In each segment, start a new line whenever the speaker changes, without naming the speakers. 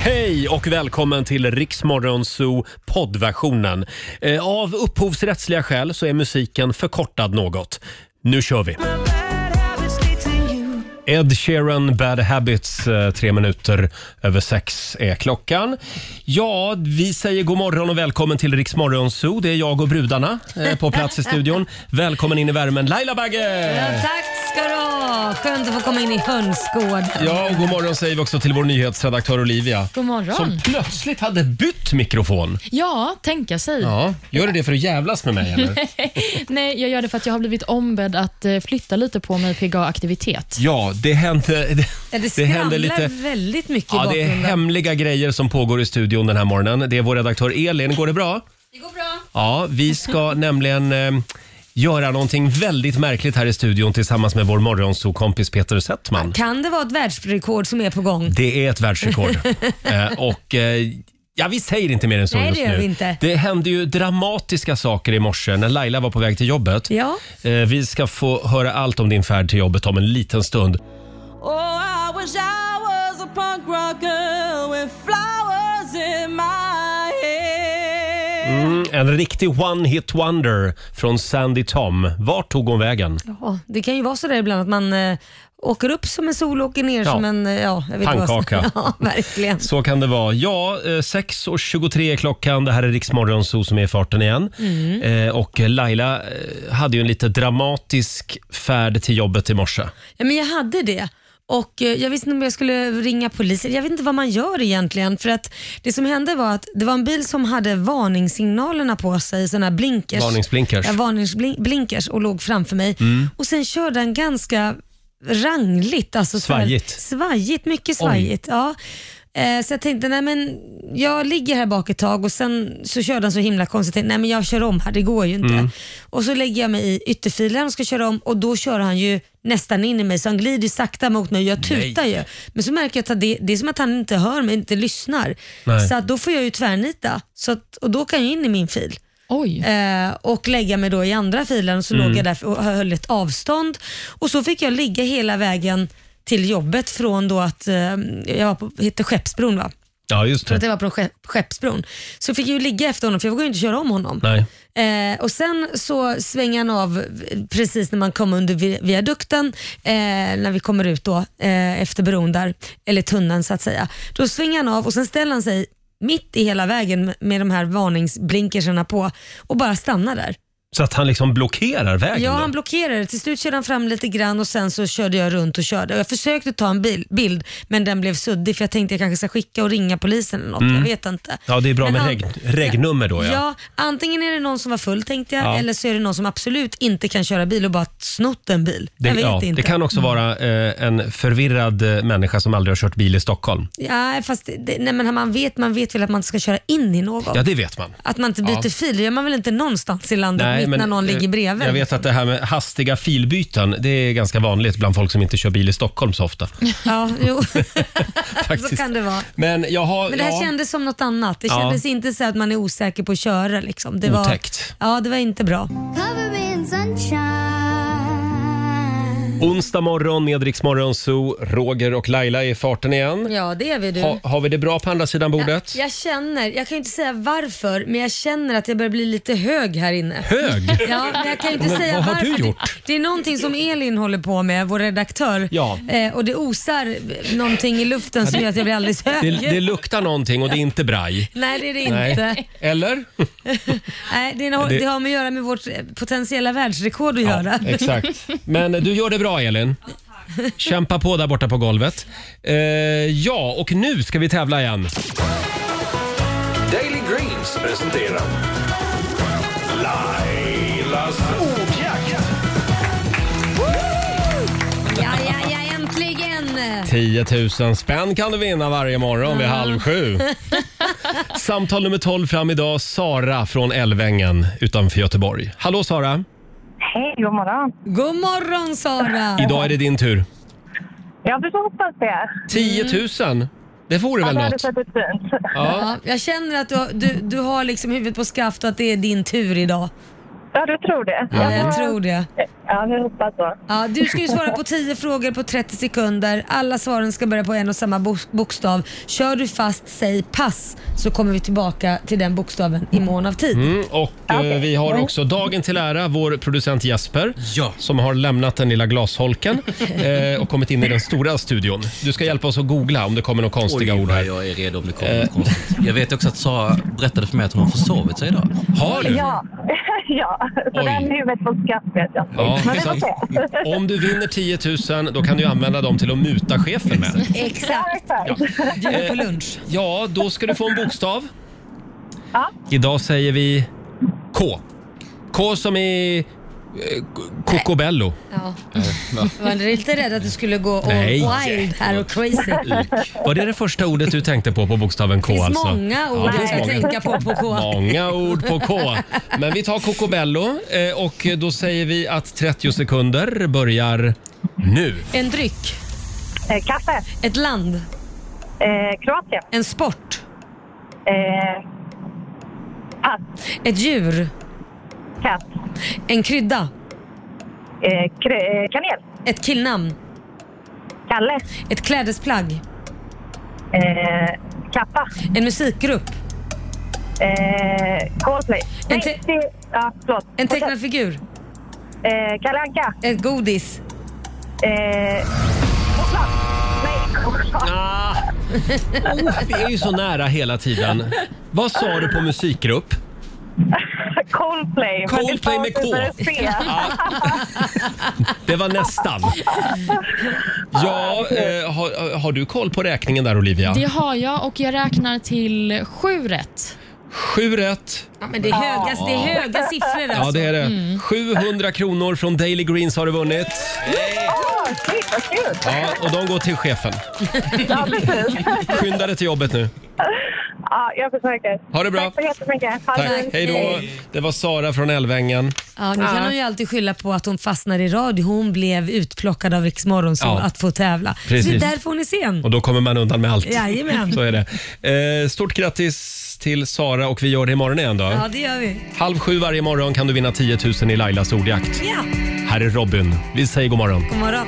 Hej och välkommen till Riksmorgon Zoo poddversionen. Eh, Av upphovsrättsliga skäl så är musiken förkortad något. Nu kör vi! Ed Sheeran, Bad Habits, eh, tre minuter över sex är klockan. Ja, vi säger god morgon och välkommen till Riksmorgon Zoo. Det är jag och brudarna eh, på plats i studion. Välkommen in i värmen, Laila Bagge!
Ja, tack ska du ha. Skönt att få komma in i hönsgården.
Ja, och god morgon säger vi också till vår nyhetsredaktör Olivia.
God morgon.
Som plötsligt hade bytt mikrofon.
Ja, tänka sig.
Ja, gör du det för att jävlas med mig eller?
Nej, jag gör det för att jag har blivit ombedd att eh, flytta lite på min PGA-aktivitet.
Ja, det hände... Det,
Ja, det
det
skramlar
hände lite...
väldigt mycket i
Ja, det är
bakgrunden.
hemliga grejer som pågår i studion den här morgonen. Det är vår redaktör Elin. Går det bra?
Det går bra.
Ja, vi ska nämligen eh, göra någonting väldigt märkligt här i studion tillsammans med vår morgonsokompis Peter Settman.
Kan det vara ett världsrekord som är på gång?
Det är ett världsrekord. eh, och, eh, ja, vi säger inte mer än så
Nej, det
just
gör
nu.
vi inte.
Det hände ju dramatiska saker i morse när Laila var på väg till jobbet.
Ja.
Eh, vi ska få höra allt om din färd till jobbet om en liten stund.
Oh,
Mm, en riktig one-hit wonder från Sandy Tom. Vart tog hon vägen?
Ja, det kan ju vara så där ibland att man eh, åker upp som en sol och åker ner
Ja.
som en... eh, Ja, jag vet inte vad-
Pannkaka.
ja, verkligen.
Så kan det vara. Ja, eh, 6.23 är klockan. Det här är Riksmorgon Zoo som är i farten igen.
Mm.
Eh, Och Laila eh, hade ju en lite dramatisk färd till jobbet i morse.
Ja, men jag hade det. Och eh, Jag visste inte om jag skulle ringa polisen. Jag vet inte vad man gör egentligen. För att Det som hände var att det var en bil som hade varningssignalerna på sig, sådana här blinkers.
Varningsblinkers. Mm.
Ja, varningsblinkers och låg framför mig. Och Sen körde den ganska rangligt. Alltså så här-
Svajigt.
Svajigt, mycket svajigt. Ja. Eh, Så jag tänkte, nej men jag ligger här bak ett tag och sen så kör den så himla konstigt. Jag tänkte, Nej men jag kör om här, det går ju inte.
Mm.
Och så lägger jag mig i ytterfilen och ska köra om och då kör han ju nästan in i mig så han glider ju sakta mot mig och jag tutar ju. Men så märker jag att det, det är som att han inte hör mig, inte lyssnar.
Nej.
Så att då får jag ju tvärnita så att, och då kan jag in i min fil.
Oj.
Eh, och lägga mig då i andra filen. Så
Mm.
låg jag där och höll ett avstånd. Och så fick jag ligga hela vägen till jobbet från då att eh, jag var på, hette Skeppsbron va?
Ja, just
För att
det.
jag var på Skepp, Skeppsbron. Så fick jag ju ligga efter honom för jag vågade ju inte köra om honom.
Nej.
Eh, och Sen så svänger han av precis när man kommer under vi- viadukten, eh, när vi kommer ut då eh, efter bron där, eller tunneln så att säga. Då svänger han av och sen ställer han sig mitt i hela vägen med- med de här varningsblinkerserna på och bara stannar där.
Så att han liksom blockerar vägen
Ja,
då.
han blockerade. Till slut körde han fram lite grann och sen så körde jag runt och körde. Jag försökte ta en bil, bild, men den blev suddig för jag tänkte jag kanske ska skicka och ringa polisen eller något. Jag vet inte.
Mm. Ja, det är bra
Men
med
han-
reg regnummer då ja.
Ja. antingen är det någon som var full tänkte jag,
Ja.
eller så är det någon som absolut inte kan köra bil och bara snott en bil.
Det,
jag vet
ja,
inte.
det kan också vara eh, en förvirrad eh, människa som aldrig har kört bil i Stockholm.
Ja, fast det, nej, men man, vet, man vet väl att man inte ska köra in i någon.
Ja, det vet man.
Att man inte byter
Ja.
fil, det gör man väl inte någonstans i landet mitt när någon
eh,
ligger bredvid.
Jag vet att det här med hastiga filbyten, det är ganska vanligt bland folk som inte kör bil i Stockholm så ofta.
Ja, jo.
Faktiskt.
så kan det vara.
Men jag har...
Men det här
ja.
kändes som något annat. Det
Ja.
kändes inte så att man är osäker på att köra. Liksom. Det
Otäckt.
Var, ja, det var inte bra.
Onsdag morgon med Rix Morgon Zoo. Roger och Laila är i farten igen.
Ja, det är vi du.
Ha, har vi det bra på andra sidan bordet?
Jag känner, jag kan ju inte säga varför, men jag känner att jag börjar bli lite hög här inne.
Hög?
Ja, men jag kan ju inte
Men
säga
vad har
varför.
du gjort?
Det, det är någonting som Elin håller på med, vår redaktör.
Ja.
Eh, och det osar någonting i luften som gör att jag blir alldeles hög.
Det, det luktar någonting och det är inte braj.
Nej, det är det inte.
Nej. Eller?
Nej, det, är, nå-
Det-
det har med att göra med vårt eh, potentiella världsrekord att göra.
exakt. Men du gör det bra Elin. Kämpa på där borta på golvet. Eh, ja, och nu ska vi tävla igen.
Daily Greens presenterar Lailas ordjakt.
Ja, ja, ja, äntligen!
10 000 spänn kan du vinna varje morgon vid halv sju. Samtal nummer 12 fram idag. Sara från Älvängen utanför Göteborg. Hallå Sara!
Hej, god morgon.
God morgon Sara!
Idag är det din tur.
Ja, vi får hoppas det.
10 000! Det vore väl
det hade
något?
sett ut fint.
Ja.
Ja, jag känner att du, har- du, du har liksom huvudet på skaft och att det är din tur idag.
Ja, du tror det.
Ja, jag tror det.
Jag, Ja, vi hoppas så.
Ja, du ska ju svara på 10 frågor på 30 sekunder. Alla svaren ska börja på en och samma bo- bokstav. Kör du fast, säg pass, så kommer vi tillbaka till den bokstaven i mån av tid.
Mm, och eh, vi har
Mm.
också dagen till ära, vår producent Jesper.
Ja.
Som har lämnat den lilla glasholken eh, och kommit in i den stora studion. Du ska hjälpa oss att googla om det kommer några konstiga
Oj,
ord
vad
här. Eh.
jag är redo om det kommer något konstigt. Jag vet också att Sara berättade för mig att hon har försovit sig idag.
Har du?
Ja, ja. så
Oj.
det här med huvudet på skatt vet jag.
Ja,
Men
det är
vi får
sant.
se.
Om du vinner 10 000 då kan du använda dem till att muta chefen med.
Ja,
Exakt.
exakt.
Du är på lunch.
Eh, Ja, då ska du få en bokstav.
Ja.
Idag säger vi K. K som i eh, Cocobello.
Ja. Jag var lite rädd att du skulle gå all
Nej.
wild här och crazy. Det
Var det det första ordet du tänkte på på bokstaven K
finns
alltså?
många ord
det
man
finns
ska
många.
tänka på på K.
Många ord på K. Men vi tar Cocobello eh, och då säger vi att 30 sekunder börjar nu.
En dryck,
Eh, Kaffe.
ett land,
Eh, Kroatien.
en sport,
Eh, pass.
ett djur,
Katt.
en krydda,
Eh, kr- eh, kanel.
ett killnamn,
Kalle.
ett klädesplagg,
Eh, kappa.
en musikgrupp,
Eh, Coldplay.
En
Nej,
te-
det- ja, förlåt.
en tecknad figur,
Eh, Kalle Anka.
ett godis.
Eh, choklad. Nej, choklad.
Ah, oh, vi är ju så nära hela tiden. Vad sa du på musikgrupp?
Coldplay. men det
Coldplay med K.
stavas med C.
Det var nästan. Ja, eh, har, har du koll på räkningen där Olivia?
Det har jag och jag räknar till sju rätt.
Sju rätt.
Ja, men det, är höga, det är höga siffror alltså.
Ja, det är det.
Mm.
700 kronor från Daily Greens har du vunnit.
Åh, shit vad kul.
Ja, och de går till chefen.
Ja, precis.
Skynda dig till jobbet nu.
Ja, jag försöker.
Ha det bra.
Tack så jättemycket. Ha det
Tack.
fint.
Hej då. Det var Sara från Älvängen.
Ja, nu kan hon ju alltid skylla på att hon fastnar i radio. Hon blev utplockad av Rix Morgonzoo
Ja.
att få tävla. Så
Precis.
det är därför hon är sen.
Och då kommer man undan med allt.
Jajamän.
Så är det. Eh, stort grattis till Sara och vi gör det imorgon igen då.
Ja, det gör vi.
Halv sju varje morgon kan du vinna 10 000 i Lailas ordjakt.
Ja,
Här är Robin. Vi säger god morgon.
god morgon.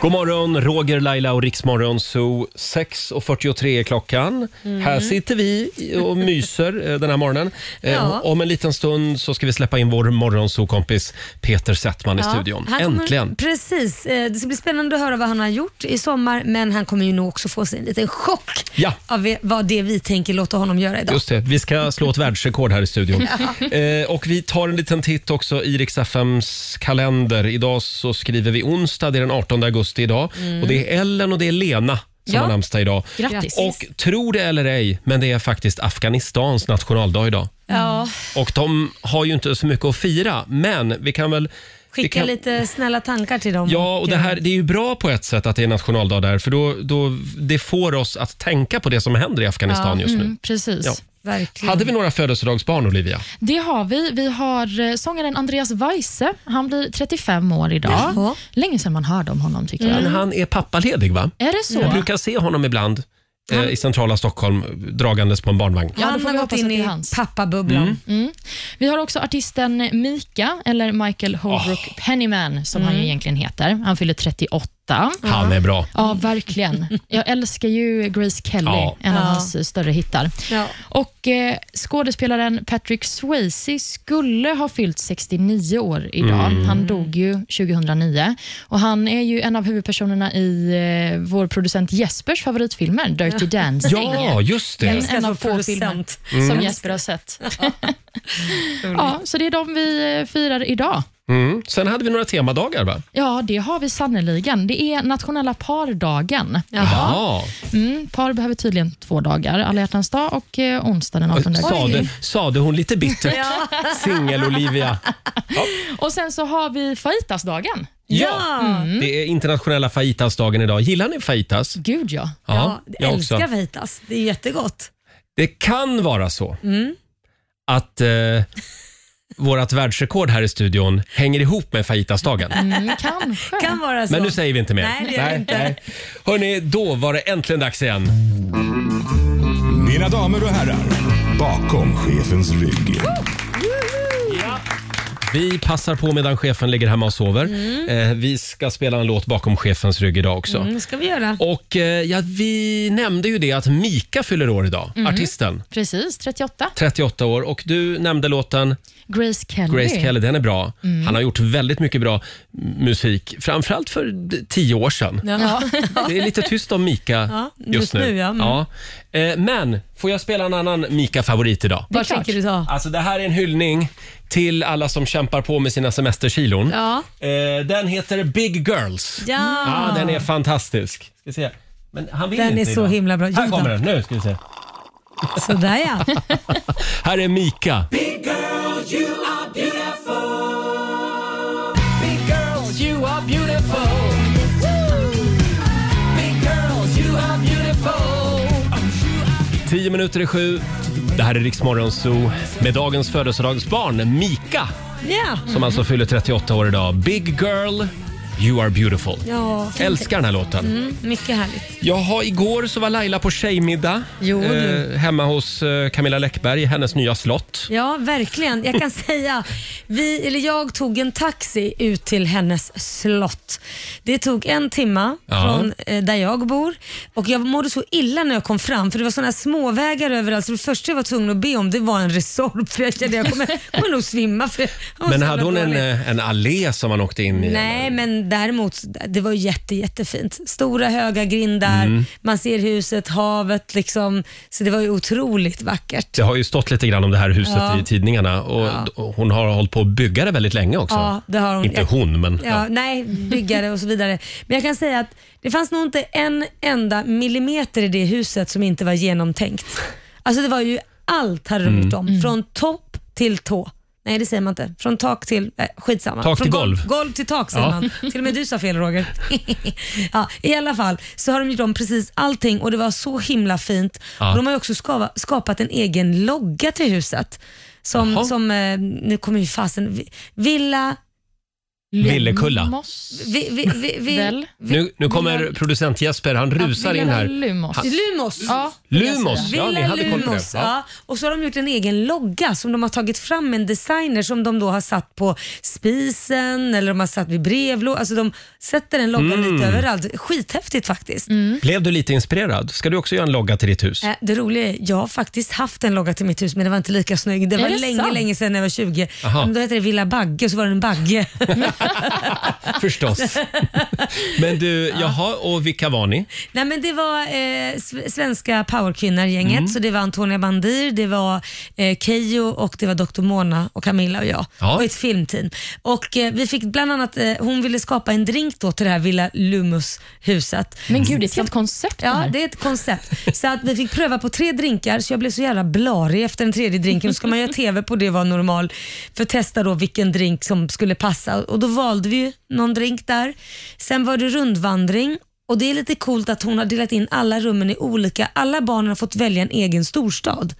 God morgon, Roger, Laila och Riksmorgon Zoo. 6.43 är klockan.
Mm.
Här sitter vi och myser eh, den här morgonen. Eh,
Ja.
Om en liten stund så ska vi släppa in vår morgonzoo-kompis Peter Settman i
Ja,
studion.
han kommer-
Äntligen!
Precis. Eh, Det ska bli spännande att höra vad han har gjort i sommar, men han kommer ju nog också få sig en liten chock
Ja.
av ve- vad det vi tänker låta honom göra idag.
Just det, vi ska slå ett världsrekord här i studion. eh, och vi tar en liten titt också i Rix FMs kalender. Idag så skriver vi onsdag, det är den 18 augusti idag. Och det är Ellen och det är Lena som
Mm. Ja.
har namnsdag idag.
Grattis.
Och tro det eller ej, men det är faktiskt Afghanistans nationaldag idag. Mm.
Ja,
Och de har ju inte så mycket att fira, men vi kan väl... vi
skicka
kan,
lite snälla tankar till dem.
Ja, och det här det är ju bra på ett sätt att det är nationaldag där, för då, då, det får oss att tänka på det som händer i Afghanistan just nu.
Mm, precis.
Ja.
Verkligen.
Hade vi några födelsedagsbarn, Olivia?
Det har vi. Vi har eh, sångaren Andreas Weise. Han blir 35 år idag.
Jaha. Mm.
Länge sedan man hörde om honom tycker jag.
Men han är pappaledig, va?
Är det så?
Jag brukar se honom ibland eh, i centrala Stockholm dragandes på en barnvagn.
Ja, då
han
får
har
vi
gått
hoppas
in
att det
i
är hans.
pappabubblan.
Mm. Vi har också artisten Mika, eller Michael Holbrook
Ah.
Pennyman, som
Mm.
han ju egentligen heter. Han fyller 38.
Han är bra.
Ja, verkligen. Jag älskar ju Grace Kelly,
Ja.
en av
Ja.
hans större hittar.
Ja.
Och eh, Skådespelaren Patrick Swayze skulle ha fyllt 69 år idag.
Mm.
Han dog ju 2009. Och Han är ju en av huvudpersonerna i eh, vår producent Jespers favoritfilmer, Dirty Dancing.
Ja, just det. Mm.
Älskar
En av
som
få filmer
producent.
som Jesper har sett. ja, så det är de vi eh, firar idag.
Mm. Sen hade vi några temadagar, va?
Ja, det har vi sannoliken. Det är nationella pardagen.
Ja.
Mm, par behöver tydligen två dagar. Alla hjärtans dag och eh, onsdag den 18 augusti.
Sade, sade hon lite bittert.
Ja.
Singel-Olivia.
Och sen så har vi Mm. fajitasdagen.
Ja!
Ja.
Det är internationella fajitasdagen idag. Gillar ni fajitas?
Gud ja.
Ja,
jag
älskar
också.
fajitas. Det är jättegott. Mm.
Det kan vara så att eh, vårt världsrekord här i studion hänger ihop med fajitasdagen.
Mm, kanske.
Kan vara så.
Men nu säger vi inte mer.
Alltså- Nej, det gör vi inte.
Hörni, då var det äntligen dags igen.
Mina damer och herrar,
Bakom chefens rygg.
Vi passar på medan chefen ligger hemma och sover. Eh, vi ska spela en låt bakom chefens rygg idag också.
Mm, ska vi göra.
Och eh, ja, vi nämnde ju det att Mika fyller år idag,
Mm.
artisten.
Precis, 38.
38 år och du nämnde låten
Grace Kelly.
Grace Kelly, den är bra.
Mm.
Han har gjort väldigt mycket bra musik, framförallt för d- tio år sedan.
Ja.
Det är lite tyst om Mika
Ja,
just,
just
nu.
nu, ja. Mm.
ja. Eh, Men, får jag spela en annan Mika-favorit idag?
Vad tänker du ta?
Alltså det här är en hyllning till alla som kämpar på med sina semesterkilon.
Ja.
Eh, den heter Big Girls.
Ja.
Ja, den är fantastisk. Ska se. Men han vill
Den
inte
är så
idag.
himla bra.
Här
Jo då.
kommer den. Nu ska vi se.
Sådär ja.
Här är Mika. Tio minuter i sju. Det här är Riksmorgon Zoo med dagens födelsedagsbarn Mika
ja.
som alltså fyller 38 år idag. Big girl, you are beautiful.
Ja.
Älskar den här låten.
Mm, mycket härligt.
Jaha, igår så var Laila på tjejmiddag
Jo, du.
eh, hemma hos eh, Camilla Läckberg i hennes nya slott.
Ja, verkligen. Jag kan säga, vi, eller jag tog en taxi ut till hennes slott. Det tog en timma
Ja.
från eh, där jag bor och jag mådde så illa när jag kom fram för det var sådana småvägar överallt så det första jag var tvungen att be om det var en Resorb för jag kände jag kommer, kommer nog svimma. För jag var så
Men
jävla
hade hon en,
dålig.
eh, en allé som man åkte in i? eller?
Nej, men däremot, det var jätte, jättefint. Stora höga grindar,
Mm.
man ser huset, havet liksom. Så det var ju otroligt vackert.
Det har ju stått lite grann om det här huset
Ja.
i tidningarna och
Ja.
d- hon har hållit på att bygga det väldigt länge också.
Ja, det har hon.
Inte
Jag-
hon, men...
Ja, Nej, byggare och så vidare. Men jag kan säga att det fanns nog inte en enda millimeter i det huset som inte var genomtänkt. Alltså det var ju allt hade de
Mm.
gjort om. Från topp till tå. Nej, det säger man inte. Från tak till... Äh, skitsamma.
Tak
Från
till
golv.
golv.
Golv till tak säger
Ja.
man. Till och med du sa fel Roger. ja, I alla fall så har de gjort om precis allting och det var så himla fint.
Ja.
Och de har ju också skava, skapat en egen logga till huset.
Jaha.
Som, som eh, nu kommer ju fasen, vi- Villa
Villekulla.
Lumos.
vi, vi, vi, vi,
Väl?
Nu, nu kommer producent Jesper, han rusar in
Villa
här.
Lumos.
Han-
Lumos.
Ja, vill jag
Lumos!
säga.
Ja, ni
Villa
hade koll på det.
Lumos.
Ja.
Ja. Och så har de gjort en egen logga som de har tagit fram med en designer som de då har satt på spisen eller de har satt vid brevlådan. Alltså de sätter en logga
Mm.
lite överallt. Skithäftigt faktiskt.
Blev du lite inspirerad? Ska du också göra en logga till ditt hus?
Eh, Det roliga är, jag har faktiskt haft en logga till mitt hus men den var inte lika snygg. Det var
det
länge,
sant?
länge sedan när jag var 20.
Aha.
Men då hette det Villa Bagge och så var det en bagge.
Förstås. men du, jaha, och vilka var ni?
Nej, men det var eh, sve- svenska powerkvinnor-gänget. Så det var Antonia Bandir, det var eh, Keyyo och det var Dr. Mona och Camilla och jag.
Ja.
Och ett filmteam. Och eh, vi fick bland annat, eh, hon ville skapa en drink då till det här Villa Lumus-huset.
Men gud, det är ett helt koncept det
Ja,
här.
det är ett koncept. Så att vi fick pröva på tre drinkar, så jag blev så jävla blarig efter den tredje drinken. Då ska man göra TV på det var normal, för att testa då vilken drink som skulle passa. Och då valde vi ju någon drink där. Sen var det rundvandring. Och Det är lite coolt att hon har delat in alla rummen i olika. Alla barnen har fått välja en egen storstad.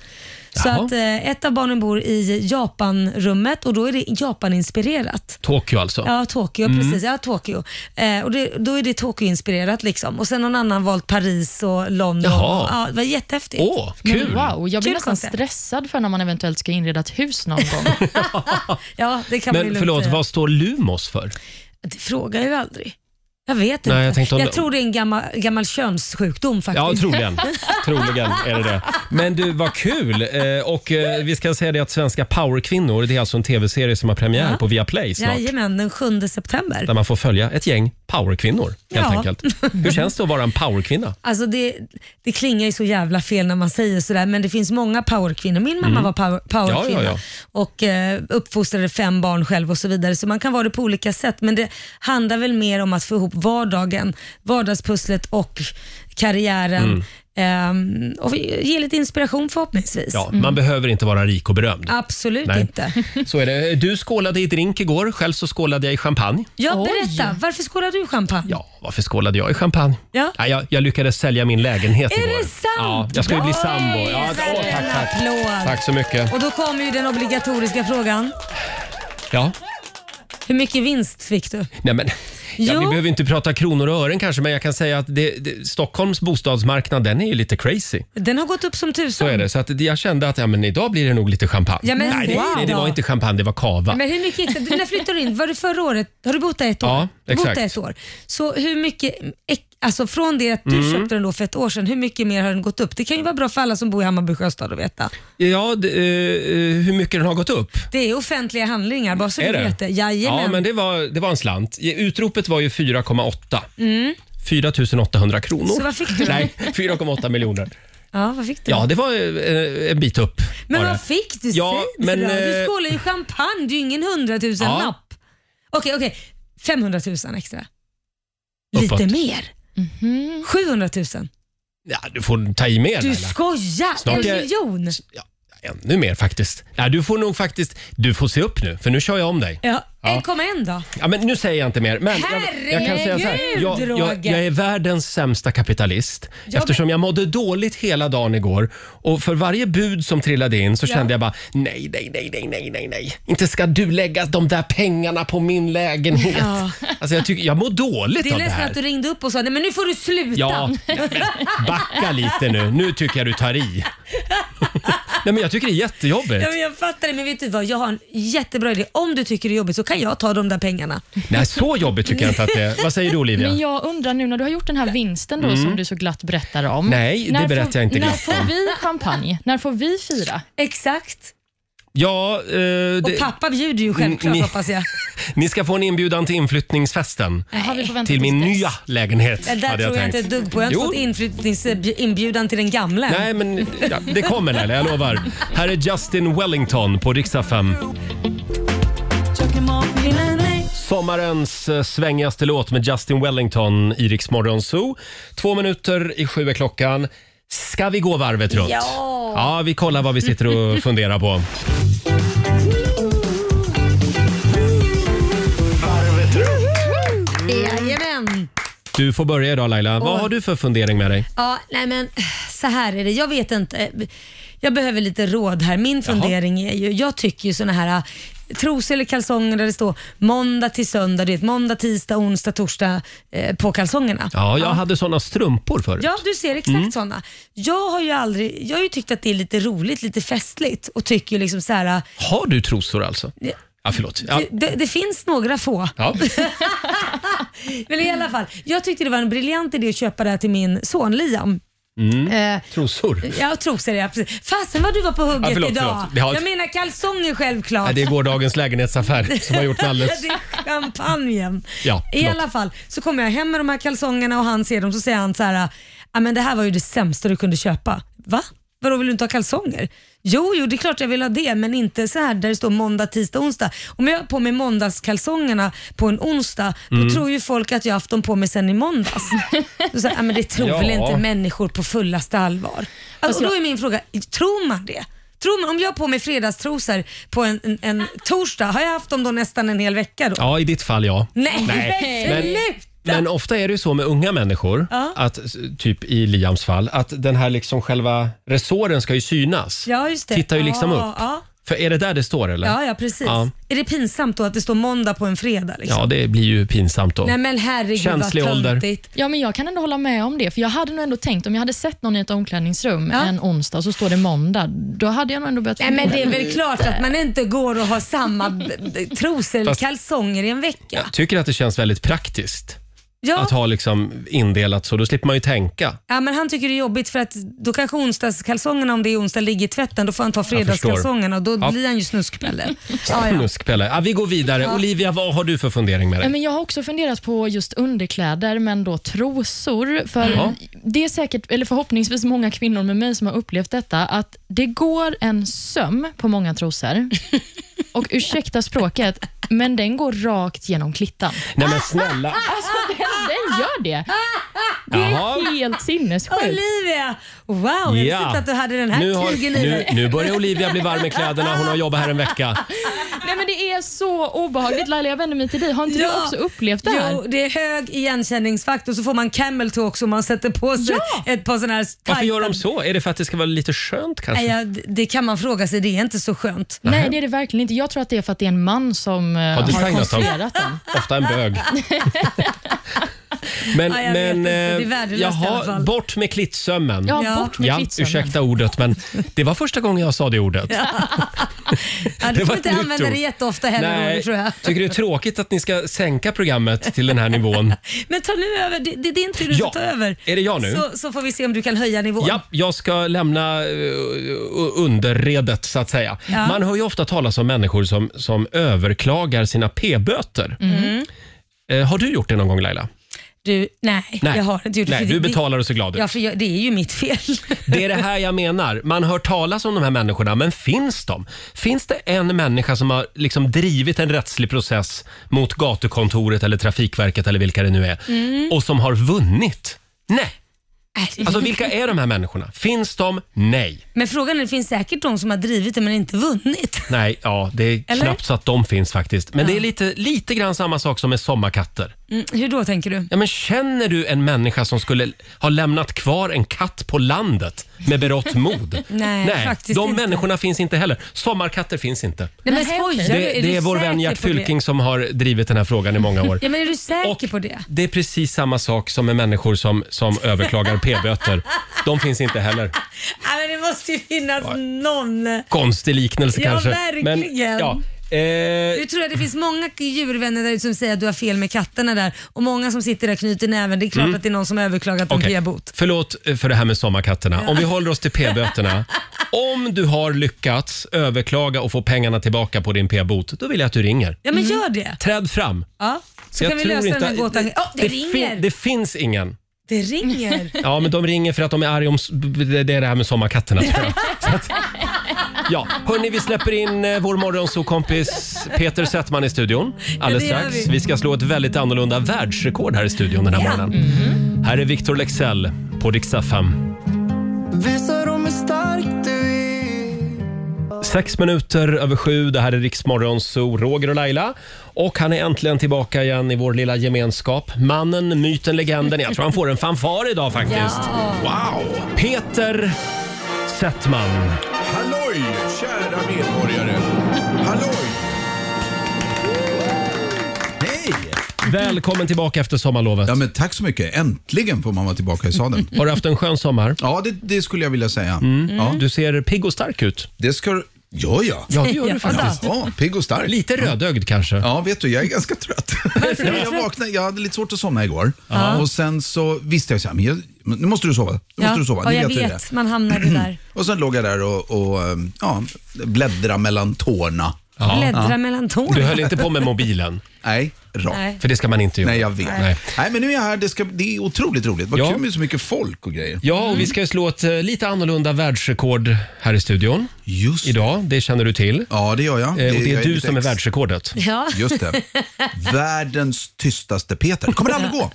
Så
Jaha.
att eh, ett av barnen bor i Japanrummet och då är det Japan-inspirerat.
Tokyo alltså?
Ja, Tokyo. Precis. Ja, Tokyo. Eh, och det, då är det Tokyo-inspirerat. Liksom. Och sen någon annan valt Paris och London.
Jaha.
Ja, det var jättehäftigt.
Åh, kul!
Men wow, jag blir
Kul
nästan
koncept.
stressad för när man eventuellt ska inreda ett hus någon gång.
Ja, det kan man ju
Men
lugnt
förlåt,
säga.
vad står Lumos för?
Det frågar jag ju aldrig. Jag vet inte.
Nej, jag tänkte om det-
tror det är en gammal, gammal könssjukdom faktiskt.
Ja, troligen. troligen är det det. Men du, vad kul! Eh, och eh, vi ska säga det att Svenska powerkvinnor, det är alltså en tv-serie som har premiär
Ja.
på Viaplay snart.
Jajamän, den 7 september.
Där man får följa ett gäng powerkvinnor helt
Ja.
enkelt. Hur känns det att vara en powerkvinna?
Alltså det, det klingar ju så jävla fel när man säger sådär, men det finns många powerkvinnor. Min mamma var power, powerkvinna
Mm. Ja, ja, ja.
och eh, uppfostrade fem barn själv och så vidare. Så man kan vara det på olika sätt, men det handlar väl mer om att få ihop vardagen, vardagspusslet och karriären.
Mm.
Ehm, och ge lite inspiration förhoppningsvis. Mm.
Ja, Man behöver inte vara rik och berömd.
Absolut
Nej.
inte.
Så är det. Du skålade i drink igår, själv så skålade jag i champagne.
Ja,
Oj.
berätta, varför skålar du champagne?
Ja, varför skålade jag i champagne?
Ja.
Nej, jag, jag lyckades sälja min lägenhet
Är
igår.
det sant?
Ja, jag ska ju bli
Oj,
sambo. Ja,
där är
åh,
en
tack, tack.
applåd.
Tack så mycket.
Och då kommer ju den obligatoriska frågan.
Ja.
Hur mycket vinst fick du?
Nej, men, Ja, vi
Jo.
behöver inte prata kronor och ören kanske, men jag kan säga att det, det, Stockholms bostadsmarknad, den är ju lite crazy.
Den har gått upp som tusan.
Så är det. Så att jag kände att ja, men idag blir det nog lite champagne.
Ja, men
nej, det,
wow.
nej, det var inte champagne, det var kava.
Men hur mycket gick det? Du, När flyttade du in? Var det förra året? Har du bott där ett år?
Ja,
Du har
exakt.
Bott där ett år. Så hur mycket, ek- alltså från det att du
Mm.
köpte den då för ett år sedan, hur mycket mer har den gått upp? Det kan ju vara bra för alla som bor i Hammarby sjöstad att veta.
Ja, d- eh, hur mycket den har gått upp?
Det är offentliga handlingar, bara så
Är
du
det?
vet det. Jajamän.
Ja, men det var, det var en slant. Utropet var ju 4,8.
Mm.
4 800 kronor.
Så vad fick du?
Nej, 4,8 miljoner.
Ja, vad fick du?
Ja, det var eh, en bit upp.
men
var det.
vad fick du?
Ja,
Säg det
men,
då.
eh,
Du skålar ju champagne, det är ju ingen hundratusen
Ja.
lapp. Okej, okej. 500 000 extra.
Uppåt.
Lite mer. 700 000.
Ja, du får ta i mer
Du
Laila.
skojar!
Snart
en
är-
miljon!
Ja, ännu mer faktiskt. Ja, du får nog faktiskt... Du får se upp nu, för nu kör jag om dig.
Ja,
Ja.
1,1 då.
Ja, men nu säger jag inte mer. Men jag, jag kan säga så här.
Herregud,
Jag, jag,
Roger.
jag är världens sämsta kapitalist. eftersom jag mådde dåligt hela dagen igår och för varje bud som trillade in så kände jag bara nej, nej, nej, nej, nej, nej, nej. Inte ska du lägga de där pengarna på min lägenhet. Alltså jag, tycker, jag mår dåligt
Det är
av det
nästan
här.
att du ringde upp och sa nej men nu får du sluta.
Ja, backa lite nu. Nu tycker jag du tar i. Nej, men jag tycker det är jättejobbigt.
Ja, men jag fattar det, men vet du vad? Jag har en jättebra idé. Om du tycker det är jobbigt så kan jag ta de där pengarna.
Mm,
Nej, så jobbigt tycker jag inte att det är. Vad säger du Olivia?
Men jag undrar nu när du har gjort den här vinsten då, som du så glatt berättar om.
Mm. Nej, det
när
berättar
får,
jag inte
När
glatt
får
om.
vi champagne? När får vi fira?
Exakt.
Ja, eh,
Och
det,
pappa bjuder ju
mm.
självklart
Ni-
hoppas jag.
ni ska få en inbjudan till inflyttningsfesten.
Äh,
Jaha, vi får vänta
Till
tills
min
dess.
nya lägenhet
Det där
hade jag
tror jag
tänkt.
inte ett dugg på. Jag har inte
Jo.
fått inflyttningsinbjudan till den gamla.
Nej, men ja, det kommer Laila, jag lovar. Här är Justin Wellington på riksdag 5.
eh?
Sommarens eh, svängigaste låt med Justin Wellington i Rix Morgon Zoo. Två minuter i sju är klockan. Ska vi gå varvet runt?
Ja.
ja, vi kollar vad vi sitter och funderar på.
Jajamän.
Du får börja idag Laila. Vad har du för fundering med dig?
Ja, nej men så här är det. Jag vet inte. Jag behöver lite råd här. Min fundering är ju, jag tycker ju såna här äh, trosor eller kalsonger där det står måndag till söndag, du vet måndag, tisdag, onsdag, torsdag eh, på kalsongerna.
Ja, jag hade såna strumpor förut. Mm.
Ja, du ser exakt såna. Jag har ju aldrig, jag har ju tyckt att det är lite roligt, lite festligt och tycker ju liksom så här.
Har du trosor alltså?
Ja.
Ja, förlåt. Ja.
Det, det finns några få.
Ja.
Men i alla fall, jag tyckte det var en briljant idé att köpa det här till min son Liam. Eh,
Trosor?
Ja, trosor ja. precis. Fasen vad du var på hugget
Ja, förlåt,
idag.
förlåt. Vi har-
Jag menar kalsonger självklart.
Nej, det är gårdagens lägenhetsaffär som har gjort mig
Ja,
alldeles...
det är champagnen.
Ja,
I
förlåt.
alla fall så kommer jag hem med de här kalsongerna och han ser dem så säger han så här, "Ja, men det här var ju det sämsta du kunde köpa. Va? Vadå vill du inte ha kalsonger? Jo, jo det är klart jag vill ha det men inte så här där det står måndag, tisdag, onsdag. Om jag har på mig måndagskalsongerna på en onsdag
Mm.
då tror ju folk att jag har haft dem på mig sen i måndags. Då så här, "Ja, men det tror
Ja.
väl inte människor på fullaste allvar. Alltså, och då är min fråga, tror man det? Tror man, om jag har på mig fredagstrosor på en, en, en torsdag, har jag haft dem då nästan en hel vecka då?
Ja, i ditt fall ja.
Nej, men
Men,
sluta!
men ofta är det ju så med unga människor,
Ja.
att, typ i Liams fall, att den här liksom själva resåren ska ju synas.
Ja, just det.
Tittar ju liksom
ja,
upp.
Ja.
För är det där det står eller?
Ja, ja, precis.
Ja.
Är det pinsamt då att det står måndag på en fredag? Liksom?
Ja, det blir ju pinsamt då.
Nej men herregud
Känslig
vad
ålder.
töntigt.
Ja, men jag kan ändå hålla med om det. För Jag hade nog ändå tänkt, om jag hade sett någon i ett omklädningsrum
Ja.
en onsdag och så står det måndag, då hade jag nog ändå börjat
Nej men det är väl klart att man inte går och har samma b- b- trosor eller
Fast-
kalsonger i en vecka.
Jag tycker att det känns väldigt praktiskt
Ja.
att ha liksom indelat så. Då slipper man ju tänka.
ja, men han tycker det är jobbigt för att då kanske onsdagskalsongerna, om det är onsdag, ligger i tvätten. Då får han ta fredagskalsongerna och då
Ja.
blir han ju snuskpelle. ja, ja.
Snuskpelle. Ja, vi går vidare. Olivia, vad har du för fundering med
Ja,
dig?
men jag har också funderat på just underkläder, men då trosor. För
Ja.
Det är säkert, eller förhoppningsvis många kvinnor med mig som har upplevt detta, att det går en söm på många trosor. Och ursäkta språket, men den går rakt genom klittan.
Nej men snälla.
Alltså, den, den gör det. Det är
Jaha.
helt sinnessjukt.
Olivia! Wow, jag visste inte att du hade den här
nu, har,
tygen i
nu,
dig.
nu börjar Olivia bli varm i kläderna. Hon har jobbat här en vecka.
Nej, men det är är så obehagligt. Laila, jag vänder mig till dig. Har inte du också upplevt det här?
Jo, det är hög igenkänningsfaktor så får man camel toe också om man sätter på sig
Ja!
ett par sådana här tajta...
Varför gör de så? Är det för att det ska vara lite skönt kanske?
Nej, ja, d- det kan man fråga sig. Det är inte så skönt.
Nej, det är det verkligen inte. Jag tror att det är för att det är en man som eh, har
designat dem.
konstruerat den.
Ofta en bög. Men,
Ja, jag vet
men
inte. Det är
eh,
värdelöst i alla fall.
bort med klittsömmen.
Ja,
Ja.
bort med ja,
ursäkta ordet men det var första gången jag sa det ordet.
Ja, du
var
får inte
ett nytt
använda
ord.
det jätteofta heller, Roger, tror jag.
tycker det är tråkigt att ni ska sänka programmet till den här nivån?
Men ta nu över. Det, det, det är inte du
Ja.
som tar över.
Är det jag nu?
Så, så får vi se om du kan höja nivån.
Ja, jag ska lämna eh, underredet så att säga.
Ja.
Man hör ju ofta talas om människor som, som överklagar sina p-böter.
Mm.
Mm.
Eh, Har du gjort det någon gång Laila?
Du, nej,
Nej.
jag har inte gjort det.
Nej,
för det-
du betalar och ser glad
det.
ut.
Ja, för jag, det är ju mitt fel.
Det är det här jag menar. Man hör talas om de här människorna, men finns de? Finns det en människa som har liksom drivit en rättslig process mot gatukontoret eller Trafikverket eller vilka det nu är
Mm.
och som har vunnit? Nej!
Äh.
Alltså vilka är de här människorna? Finns de? Nej.
Men frågan är, det finns säkert de som har drivit det men inte vunnit.
Nej, ja, det är
Eller?
knappt så att de finns faktiskt. Men det är lite, lite grann samma sak som med sommarkatter.
Mm, hur då tänker du?
Ja, men känner du en människa som skulle ha lämnat kvar en katt på landet med berått mod?
Nej, faktiskt
de
inte.
människorna finns inte heller. Sommarkatter finns inte.
Nej, men
Nej,
skojar
Det,
du?
det,
du
är vår
säker
vän Gert
på det?
Fylking som har drivit den här frågan i många år.
Ja, men är du säker på det?
det är precis samma sak som med människor som, som överklagar p-böter. De finns inte heller.
Nej, men det måste ju finnas någon.
Konstig liknelse
Ja,
kanske.
verkligen.
ja. eh,
Nu tror jag det finns många djurvänner där ute som säger att du har fel med katterna där och många som sitter där och knyter näven. Det är klart att det är någon som har överklagat om
Mm. Okej,
p-bot.
Förlåt eh, för det här med sommarkatterna. Om vi håller oss till p-böterna. Om du har lyckats överklaga och få pengarna tillbaka på din p-bot, då vill jag att du ringer. Mm.
Ja, men gör det.
Träd fram.
Ja. Så
Jag
kan vi
tror
lösa
inte-
den här gåtan. Åh, det,
fin-
ringer!
det finns ingen.
det ringer!
Ja, men de ringer för att de är arga om... s- Det det är det här med sommarkatterna tror jag. Så att, ja, hörni, vi släpper in eh, vår morgonsokompis Peter Settman i studion alldeles
Ja, det gör
strax.
vi.
Vi ska slå ett väldigt annorlunda världsrekord här i studion den här morgonen.
Mm.
Här är Victor Lexell på Dixa 5.
Visa dem hur stark du är
Sex minuter över sju, det här är Riksmorgon, så Roger och Laila. Och han är äntligen tillbaka igen i vår lilla gemenskap. Mannen, myten, legenden. Jag tror han får en fanfar idag faktiskt. Wow! Peter Settman.
Halloj, kära medborgare! Halloj! Hej!
Välkommen tillbaka efter sommarlovet.
Ja, men tack så mycket. Äntligen får man vara tillbaka i sadeln.
Har du haft en skön sommar? Mm.
Ja, det, det skulle jag vilja säga. Ja,
Du ser pigg och stark ut.
det ska du- Ja, ja.
Ja, det gör
Ja,
du faktiskt.
ja pigg och stark.
Lite rödögd kanske.
Ja, vet du, jag är ganska trött.
är du
jag,
trött?
vaknade, jag hade lite svårt att somna igår och sen så visste jag så här, men jag, men nu måste du sova. Nu
Ja.
måste du sova.
Ja,
Ni
jag
vet hur det
vet. Man hamnade där.
är. Och sen låg jag där och, och ähm, ja, bläddra mellan tårna.
Bläddra mellan
Du
tårna.
höll inte på med mobilen,
Nej, rakt. Nej.
Nej.
för det ska man inte göra.
jag vet.
Nej.
Nej. men nu är jag här. Det, ska, det är otroligt roligt. Vad
Ja.
kul med så mycket folk och grejer.
Ja, och vi ska ju slå ett eh, lite annorlunda världsrekord här i studion
Just
idag. Det känner du till.
Ja, det gör jag.
Eh, Och
jag
det är du
lite
som är
ex-
världsrekordet.
Ja.
Just det. Världens tystaste Peter. Det kommer aldrig gå.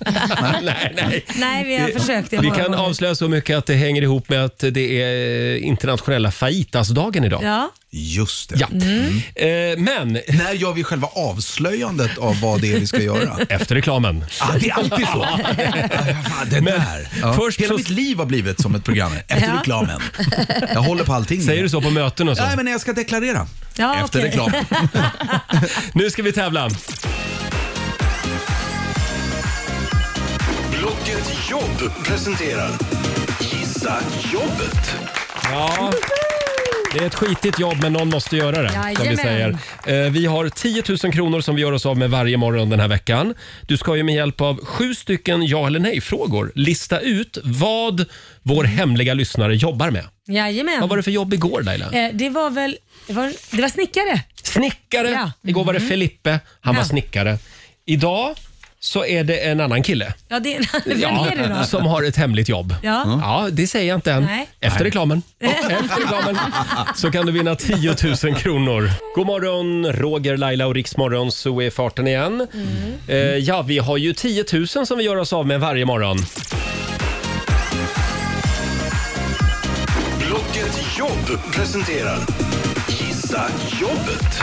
Nej, nej.
Nej, vi har försökt det
Eh, Vi
många
kan
gånger.
avslöja så mycket att det hänger ihop med att det är eh, internationella fajitasdagen idag.
Ja. Mm.
Just det.
Ja. Eh, Men
När gör vi själva avslöjandet av vad det är vi ska göra?
efter reklamen.
Ah, det är alltid så. Ah, fan, det
Men
där. Ja.
först
Hela
så-
mitt liv har blivit som ett program efter reklamen. Jag håller på allting.
Säger du så på möten och så?
Nej, men när jag ska deklarera.
Ja,
efter
okej.
reklamen.
Nu ska vi tävla.
Blocket Jobb presenterar Gissa Jobbet.
Ja. Det är ett skitigt jobb men någon måste göra det. Som vi,
Jajamän.
säger. Eh, vi har 10 000 kronor som vi gör oss av med varje morgon den här veckan. Du ska ju med hjälp av sju stycken ja eller nej-frågor lista ut vad vår hemliga lyssnare jobbar med.
Jajamän.
Vad var det för jobb igår Laila?
Eh, Det var väl... Det var, det var snickare.
Snickare!
Ja. Mm.
Igår var det Felipe, han var
Ja.
snickare. Idag så är det en annan kille
Ja, det, vem är det då?
som har ett hemligt jobb.
Ja.
ja, det säger jag inte än.
Nej.
Efter reklamen. Efter reklamen så kan du vinna 10 000 kronor. God morgon, Roger, Laila och Riksmorgon, så är farten igen. Eh, ja, vi har ju 10 000 som vi gör oss av med varje morgon.
Blocket Jobb presenterar Gissa Jobbet.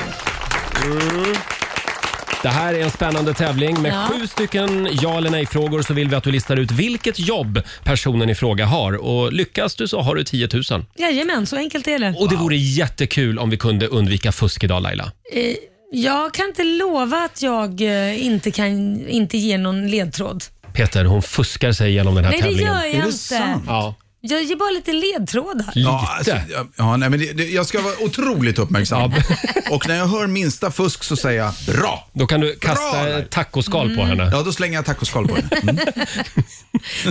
Det här är en spännande tävling. Med
Ja.
sju stycken ja eller nej-frågor så vill vi att du listar ut vilket jobb personen i fråga har. Och lyckas du så har du 10 000.
Jajamän, så enkelt är det.
Och det vore jättekul om vi kunde undvika fusk idag Laila.
Eh, Jag kan inte lova att jag eh, inte kan inte ge någon ledtråd.
Peter, hon fuskar sig igenom den här
Nej, det
tävlingen.
gör
Är
jag
det
inte.
sant?
Ja,
Jag ger bara lite ledtrådar.
lite.
Ja, alltså, ja, ja, nej, men det, det, jag ska vara otroligt uppmärksam. Och när jag hör minsta fusk så säger jag bra.
Då kan du kasta
Bra, Laila.
ett tacoskal på henne.
Ja, då slänger jag tacoskal på den. Mm.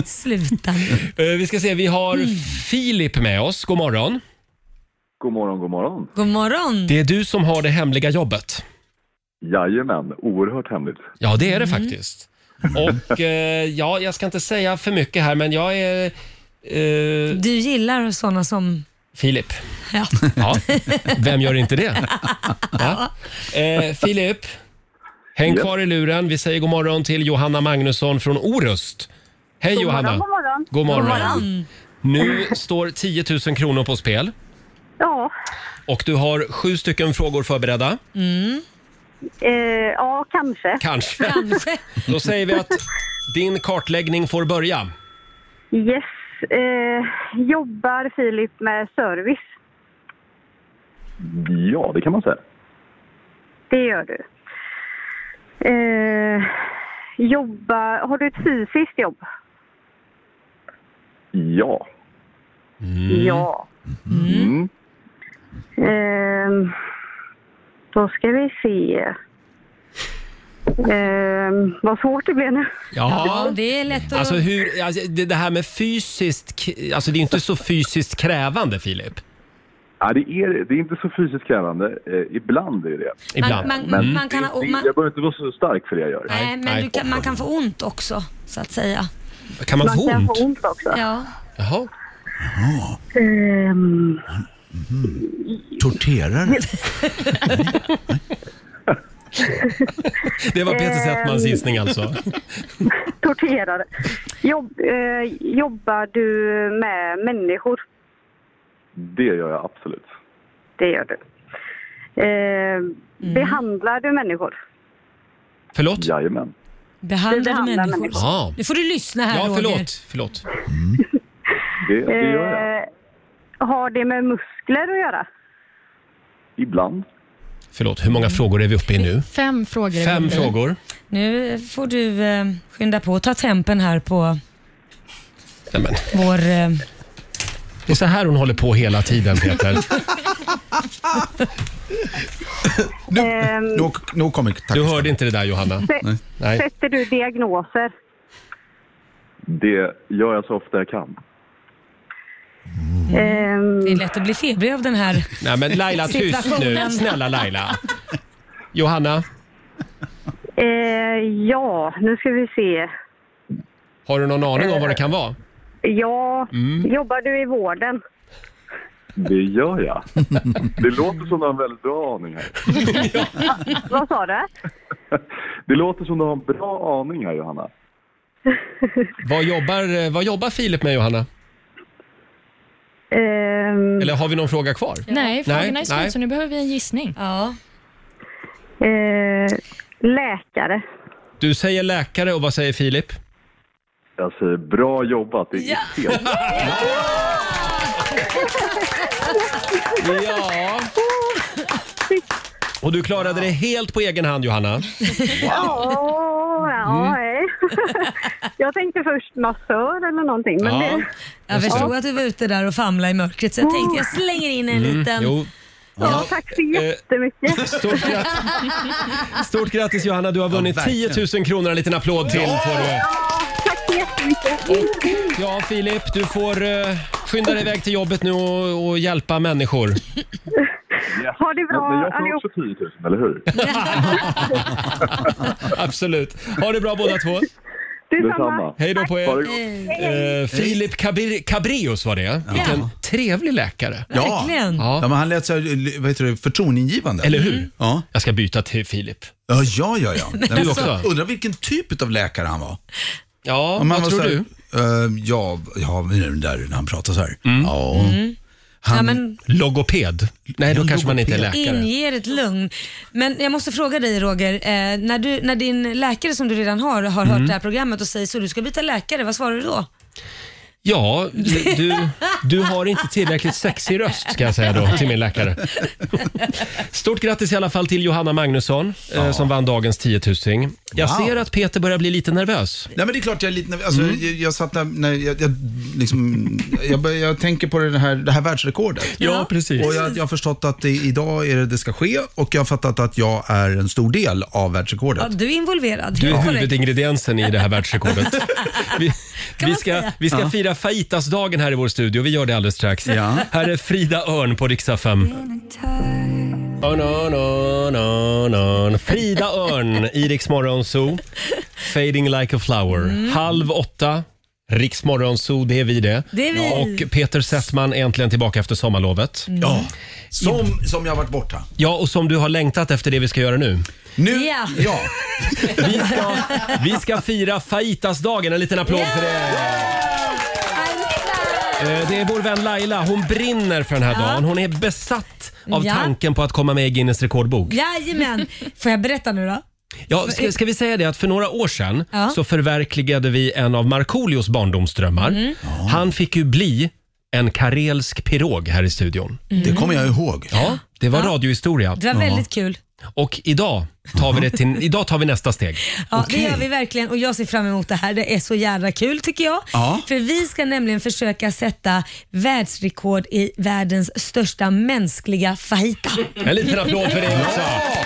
Sluta nu.
Eh, Vi ska se, vi har
Mm.
Filip med oss. God morgon.
God morgon, god morgon.
God morgon.
Det är du som har det hemliga jobbet.
Jajamän, oerhört hemligt.
Ja, det är
Mm.
det faktiskt. Och eh, ja, jag ska inte säga för mycket här, men jag är eh,
Du gillar såna som...
Filip.
Ja.
Ja, vem gör inte det? Ja. Eh, Filip, häng
Yep.
kvar i luren. Vi säger god morgon till Johanna Magnusson från Orust. Hej Johanna!
God morgon.
God morgon.
Morgon.
Nu står 10 000 kronor på spel
Ja,
och du har sju stycken frågor förberedda.
Mm.
eh, ja kanske.
Kanske.
Kanske.
Då säger vi att din kartläggning får börja.
Yes. Eh, jobbar Filip med service?
Ja, det kan man säga.
Det gör du. Eh, jobbar... Har du ett fysiskt jobb?
Ja.
Ja.
Mm.
Mm.
Ehm, då ska vi se. Ehm, vad svårt det blev nu.
Ja, det är lätt att...
Alltså, hur, alltså det, det här med fysiskt, k- alltså det är inte så fysiskt krävande Filip.
Nej, det, är, det är inte så fysiskt krävande. Eh, ibland är det det.
Ibland.
Man, man,
Mm.
man kan, ha-
det,
man,
Jag behöver inte vara så stark för det jag gör.
nej, men
nej.
du kan, man kan få ont också, så att säga.
Kan man få
Man kan
ont?
få ont också.
Ja.
Jaha.
Ehm,
Torterare.
Det var Peter Settmans gissning alltså.
torterare. Jobb, eh, jobbar du med människor?
Det gör jag absolut.
Det gör du. Ehm,
Mm.
Behandlar du människor?
Förlåt?
Jajamän.
Behandlar
Du behandlar
människor.
människor.
Ja,
Nu får du lyssna här,
ja
Roger.
förlåt. förlåt.
Mm. Det, det gör
Eh.
jag.
Ehm, har det med muskler att göra?
Ibland.
Förlåt, hur många frågor är vi uppe i nu?
Fem frågor. är
Fem
det.
frågor.
Nu får du eh, skynda på och ta tempen här på
Nej, men,
vår... Eh,
det är så här hon håller på hela tiden Peter.
Ehm,
Nu, nu kommer tacoskal.
Du hörde inte det där Johanna?
sä-
Nej.
Sätter du diagnoser?
Det gör jag så ofta jag kan.
Ehm,
Mm. det är lätt att bli febrig av den här.
Nej men Laila, tyst nu.
Situationen.
Snälla Laila. Johanna,
eh, ja, nu ska vi se.
har du någon aning om vad det kan vara? Mm.
Ja, jobbar du i vården?
Det gör jag. Det låter som du har en väldigt bra aning här.
Vad sa du?
Det låter som du har en bra aning här, Johanna.
Vad jobbar, eh, vad jobbar Filip med Johanna?
Ehm,
Eller har vi någon fråga kvar?
Nej, frågorna är
nej.
slut så nu behöver vi en gissning.
Ja.
eh, läkare.
Du säger läkare och vad säger Filip?
Jag säger bra jobbat. Det är
Ja.
helt
Ja. Och du klarade det helt på egen hand Johanna.
Ja,
Mm.
ja, hej. Jag tänkte först massör eller någonting. Men
Ja.
det,
Jag
Just det.
förstod att du var ute där och famlade i mörkret så jag tänkte jag slänger in en liten...
Mm. Jo. Eh,
ja, tack så jättemycket.
Stort, grat- Stort grattis Johanna, du har vunnit
Ja,
10
verkligen.
000 kronor. En liten applåd till får du.
Tack så jättemycket.
Ja Filip, du får eh, skynda dig iväg till jobbet nu och, och hjälpa människor.
Yes.
Ha det bra,
Men jag får
allihop.
också 10 000, eller hur?
Absolut. Ha det bra båda två.
Detsamma.
Detsamma.
Hej då på
Ha det
er.
gott.
Eh, Filip Cabri- Cabrios var det. Vilken trevlig läkare.
Ja.
Verkligen.
Ja. men han lät så här, vad heter det, förtroendeingivande.
Eller hur?
Ja.
Jag ska byta till Filip.
Ja, ja, ja. ja. Nej, men
också.
Undrar vilken typ av läkare han var.
Ja,
Om han
vad
var
tror
så här,
du?
eh, ja, ja, men den där när han pratar så här. Ja.
Han,
Mm. Ja, men-
Mm. Logoped? Nej, då kanske man inte är läkare.
Inger ett lugn. Men jag måste fråga dig Roger, eh, när, du, när din läkare som du redan har, har
Mm.
hört det här programmet och säger så du ska byta läkare, vad svarar du då?
Ja, du- du, du har inte tillräckligt sexig röst ska jag säga då till min läkare. Stort grattis i alla fall till Johanna Magnusson eh, som vann dagens 10 000. Jag
Wow.
ser att Peter börjar bli lite nervös.
Nej, men det är klart jag är lite nervös. Alltså,
Mm.
jag, jag satt där, när jag, jag, liksom, jag, bör- jag tänker på det här, det här världsrekordet.
Ja, precis.
Och jag, jag har förstått att det, idag är det det ska ske och jag har fattat att jag är en stor del av världsrekordet.
Ja, du är involverad.
Du är
Korrekt.
huvudingrediensen i det här världsrekordet. Vi, vi ska,
säga.
vi ska
Ja.
fira fajitasdagen här i vår studio. Vi gör det alldeles strax. Här är Frida Örn på riksdag 5. Oh, no, no, no, no. Frida Örn i Rix Morgon Zoo. Fading like a flower.
Mm.
Halv åtta. Rix Morgon Zoo, det är vi det.
Det är vi. Mm.
Och Peter Settman är äntligen tillbaka efter sommarlovet.
Ja, som, som jag har varit borta.
Ja, och som du har längtat efter det vi ska göra nu.
Nu, ja.
Vi ska, vi ska fira fajitasdagen. En liten applåd för det. Eh, Det är vår vän Laila. Hon brinner för den här
Ja.
dagen. Hon är besatt av
Ja.
tanken på att komma med i Guinness rekordbok.
Jajamän. Får jag berätta nu då?
Ja, ska, ska vi säga det att för några år sedan
Ja.
så förverkligade vi en av Markoolios barndomsdrömmar.
Mm.
Han fick ju bli en karelsk pirog här i studion.
Det kommer jag ihåg.
Ja, det var
Mm. Ja.
radiohistoria.
Det var väldigt kul.
Och idag tar vi, det till, idag tar vi nästa steg.
Mm-hmm. Ja, Det gör vi verkligen och jag ser fram emot det här. Det är så jävla kul tycker jag.
Ja.
För vi ska nämligen försöka sätta världsrekord i världens största mänskliga fajta.
En liten applåd för det också.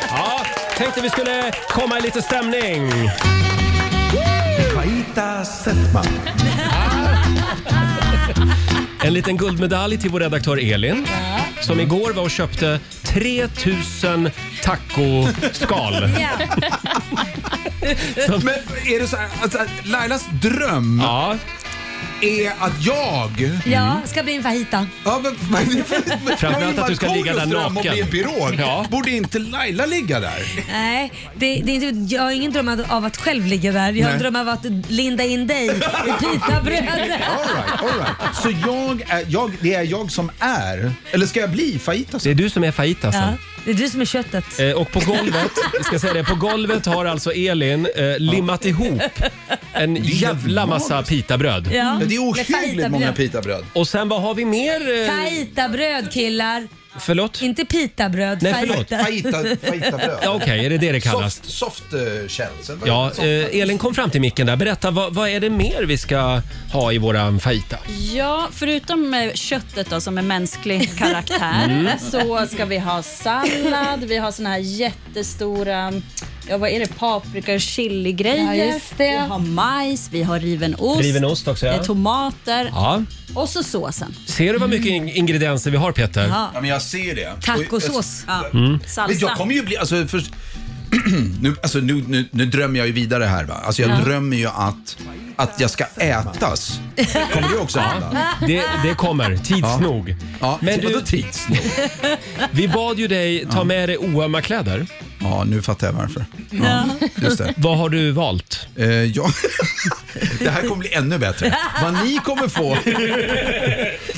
Ja, tänkte vi skulle komma i lite stämning.
Fajita Settman.
En liten guldmedalj till vår redaktör Elin som igår var och köpte 3000 tacoskal.
Men är det så här, alltså, Lailas dröm är att jag...
Ja, ska bli en fajita.
Ja, men, men, men,
Framförallt att du ska ligga där
Markoolios dröm om
naken.
att bli en pirog.
Ja.
Borde inte Laila ligga där?
Nej, det, det är inte, jag har ingen dröm av- av att själv ligga där. Jag har en
Nej.
dröm av att linda in dig i pitabröd.
All right, all right. Så jag är, jag, det är jag som är, eller ska jag bli fajitas? Det
är du som är fajitas.
Ja, det är du som är köttet.
Eh, Och på golvet, jag ska säga det, på golvet har alltså Elin eh, limmat ihop en jävla massa pitabröd.
Ja. Det är ohyggligt Med pitabröd. många
pitabröd.
Och sen vad har vi mer? eh,
Fajitabröd killar.
Förlåt?
Inte pitabröd,
Nej, förlåt. Ja, Okej, är det det det kallas?
Soft, soft eh, känns. Eller vad
Ja,
heter det? Soft.
eh, Elin kom fram till micken där. Berätta, vad, vad är det mer vi ska ha i våran fajta?
Ja, förutom eh, köttet då, som är mänsklig karaktär
Mm.
så ska vi ha sallad, vi har såna här jättestora Ja, vad är det? Paprika och chiligrejer.
Ja, just det.
Vi har majs, vi har riven ost,
Riven ost också, ja.
eh, tomater
Ja.
och så såsen.
Ser du vad mycket in- ingredienser vi har Peter?
Ja.
Ja, men jag ser det.
Tacosås. Ja.
Mm.
Salsa.
Men jag kommer ju bli, alltså, först, nu, alltså nu, nu, nu drömmer jag ju vidare här va. Alltså jag
Ja.
drömmer ju att, att jag ska ätas. Kommer det också hända?
Det, det kommer, tids
Ja.
nog.
Ja,
Men
vadå
du,
tids nog?
Vi bad ju dig ta med dig oömma kläder.
Ja, nu fattar jag varför. Just det.
Vad har du valt?
Eh, ja. Det här kommer bli ännu bättre. Vad ni kommer få.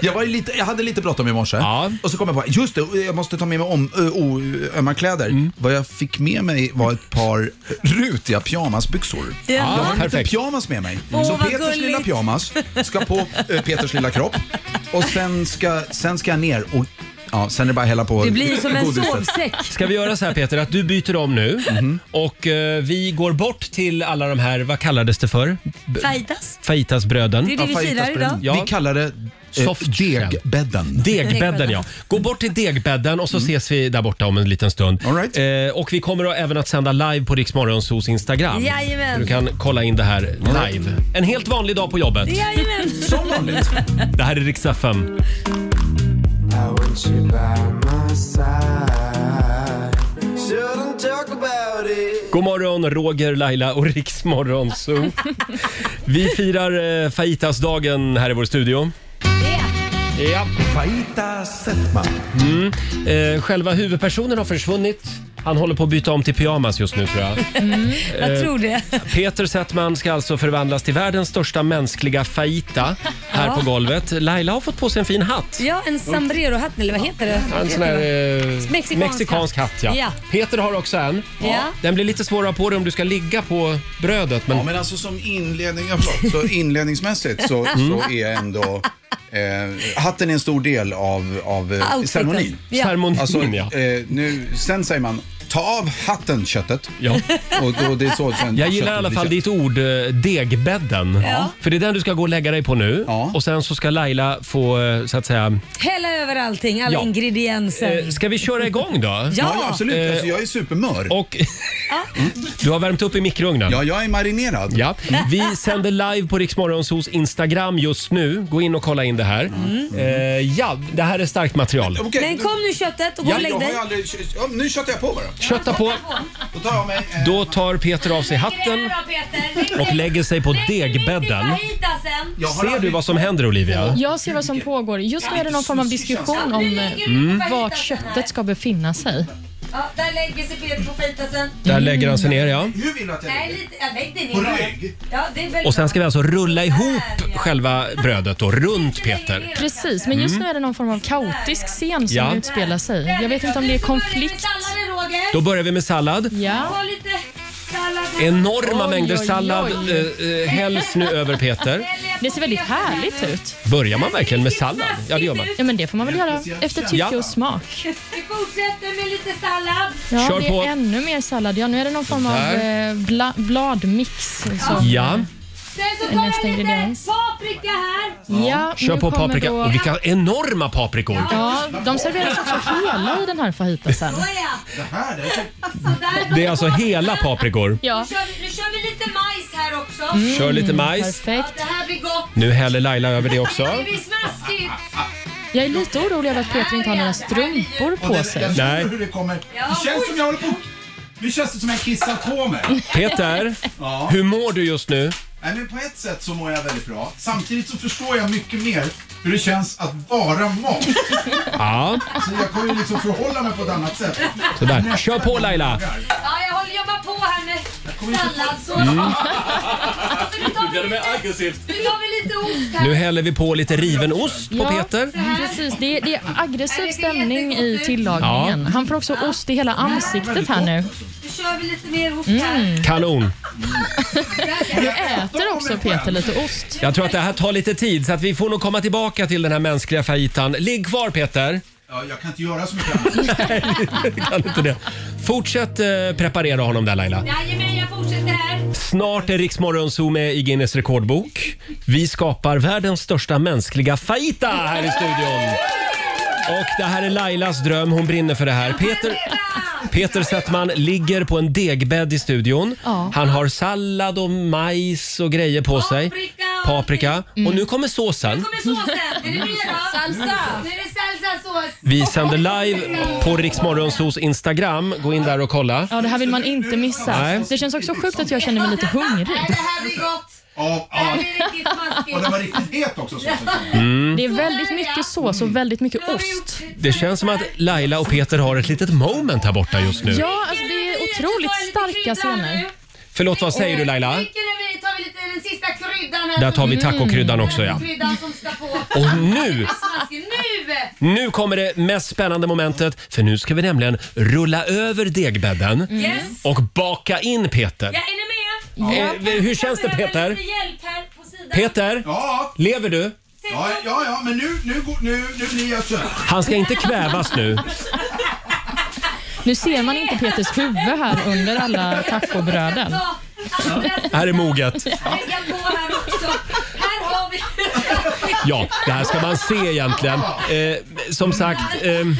Jag, var ju lite, jag hade lite bråttom i morse och så kom jag på just det, jag måste ta med mig om, ö, o, ömma kläder. Vad jag fick med mig var ett par rutiga pyjamasbyxor.
Ja.
jag har
Perfekt.
lite pyjamas med mig.
Åh,
så
vad
Peters
gulligt.
lilla pyjamas ska på eh, Peters lilla kropp och sen ska, sen ska jag ner och ja, sen är det bara att hälla på
Det blir som en
godiset.
sovsäck.
Ska vi göra så här Peter, att du byter om nu
Mhm.
och eh, vi går bort till alla de här, vad kallades det för? B-
Fajitas.
Fajitasbröden.
Det är det vi firar idag.
Ja.
Vi kallar det eh, degbädden. Mm.
Degbädden, ja. Gå bort till degbädden och så ses vi där borta om en liten stund. Eh, och vi kommer att även att sända live på Rix Morgonzoos Instagram.
Jajamän.
Du kan kolla in det här live. En helt vanlig dag på jobbet.
Jajamän. Som
vanligt.
Det här är Rix FM.
Shouldn't talk about it.
God morgon, Roger, Laila och Rix Morgonzoo. Vi firar eh, fajitasdagen här i vår studio. Ja.
Fajita Settman.
Mm. Eh, själva huvudpersonen har försvunnit. Han håller på att byta om till pyjamas just nu tror jag.
Mm, Jag
Eh,
tror det.
Peter Settman ska alltså förvandlas till världens största mänskliga fajita här
Ja.
på golvet. Laila har fått på sig en fin hatt.
Ja, en sombrerohatt eller vad heter det?
En sån här eh,
Mexikansk
mexikansk hatt. ja.
Ja.
Peter har också en.
Ja.
Den blir lite svårare på dig om du ska ligga på brödet. Men...
Ja, men alltså som inledning, ja, förlåt, så inledningsmässigt så,
Mm.
så är ändå eh, hatten är en stor del av, av eh,
Outfiten.
ceremonin.
Ja. Ceremonin,
alltså,
ja.
eh, nu, sen säger man ta av hatten köttet.
Ja.
Och då, det är så, sen
Jag gillar i alla fall ditt ord eh, degbädden.
Ja.
För det är den du ska gå och lägga dig på nu. Och sen så ska Laila få, eh, så att säga...
Hälla över allting, alla
Ja.
ingredienser.
Eh, Ska vi köra igång då? Ja,
Ja, absolut.
Alltså,
jag är supermör. Och, du har värmt upp i mikrougnen.
Ja, jag är marinerad.
Ja. Vi sänder live på Riksmorgonsos Instagram just nu. Gå in och kolla in det här.
Mm.
Eh, ja, det här är starkt material.
Men kom nu köttet och gå
Ja,
och lägg
jag har
dig.
ju
aldrig... Ja, nu köttar jag på bara.
Kötta på.
Då tar jag mig.
Då tar Peter av sig hatten och lägger sig på degbädden. Ser du vad som händer Olivia?
Jag ser vad som pågår. Just nu är det någon form av diskussion om eh,
Mm.
vart köttet ska befinna sig.
Ja, där lägger sig Peter på fetasen.
Där lägger han sig ner ja.
Hur vill du att
Nej, lite, ja, lägg dig ner
På
bara.
rygg?
Ja, det är väl
Och sen ska vi alltså rulla ihop själva brödet då, runt Peter.
Precis, men just nu är det någon form av kaotisk scen som
Ja.
utspelar sig. Jag vet inte om det är konflikt.
Då börjar vi med sallad.
Ja.
Enorma
Oj,
mängder
oj,
sallad
oj.
eh, eh, hälls nu över Peter.
Det ser väldigt härligt ut.
Börjar man verkligen med sallad? Ja, det gör man.
Ja, men det får man väl göra efter tycke
Ja.
och smak.
Vi fortsätter med lite sallad.
Ja,
Kör
det
på.
är ännu mer sallad. Ja, nu är det någon form av
Där.
eh, bla, bladmix. Som
Ja,
Sen så
är nästa ingrediens.
paprika här.
Ja,
kör
nu
på
kommer
paprika.
Då...
Och vilka enorma paprikor!
Ja, de serveras också hela i den här fajitasen.
Det är alltså hela paprikor.
Ja.
Nu, kör vi, nu kör vi lite majs här också.
Mm, Kör lite majs.
perfekt.
Ja, det här blir gott.
Nu häller Laila över det också.
Det blir smaskigt.
Jag är lite orolig över att Peter inte har några strumpor på sig.
Nej.
Hur det kommer. Det känns som jag håller på... Nu känns det som jag kissar på mig.
Peter,
Ja.
hur mår du just nu?
Nej, men på ett sätt så mår jag väldigt bra. Samtidigt så förstår jag mycket mer hur det känns att vara mat.
Ja,
Så jag kommer ju liksom förhålla mig på ett annat sätt.
sådär. Kör på Laila!
Ja, jag håller jobbar på här med salladssås.
Mm.
Nu tar vi lite ost här.
Nu häller vi på lite riven ost på Peter.
precis. Det är, det är aggressiv stämning i tillagningen.
Ja.
Han får också ost i hela ansiktet här nu.
Nu kör vi lite mer ost här.
Mm.
Kanon!
Du äter också Peter lite ost.
Jag tror att det här tar lite tid så att vi får nog komma tillbaka till den här mänskliga fajitan. Ligg kvar Peter!
Ja, jag kan inte göra så mycket annat.
Kan inte det. Fortsätt eh, preparera honom där Laila.
Jajamän, jag fortsätter här.
Snart är Riksmorgon Zoo med i Guinness rekordbok. Vi skapar världens största mänskliga fajita här i studion. Och det här är Lailas dröm, hon brinner för det här. Peter, Peter Settman ligger på en degbädd i studion.
Ja.
Han har sallad och majs och grejer på sig. Paprika. Och nu kommer såsen.
Såsen, är det mer då? Salsa. Nu är det salsasås.
Vi sänder live på Riksmorgon Zoos Instagram. Gå in där och kolla.
Ja, det här vill man inte missa.
Nej.
Det känns också sjukt att jag känner mig lite hungrig.
Det här blir gott.
Ja,
Det här blir riktigt smaskigt.
Och den var riktigt het också. Så.
Mm.
Det är väldigt mycket sås och väldigt mycket ost.
Det känns som att Laila och Peter har ett litet moment här borta just nu.
Ja, alltså det är otroligt starka scener.
Förlåt, vad säger du Laila?
Tycker vi tar vi lite den sista kryddan här.
Där tar vi tacokryddan också, ja.
Kryddan som ska på.
Och nu-
Smaskigt. Nu!
Nu kommer det mest spännande momentet för nu ska vi nämligen rulla över degbädden
Mm. Yes.
och baka in Peter.
Ja, är ni med?
Eh, hur känns det Peter?
Lite hjälp här på sidan.
Peter?
Ja.
Lever du?
Ja, ja, ja, men nu, nu, går- nu, nu blir jag trött.
Han ska inte kvävas nu.
Nu ser man inte Peters huvud här under alla tacobröden.
Här är moget.
Lägga på här också. Här har vi...
Ja, det här ska man se egentligen. Eh, som sagt... ehm,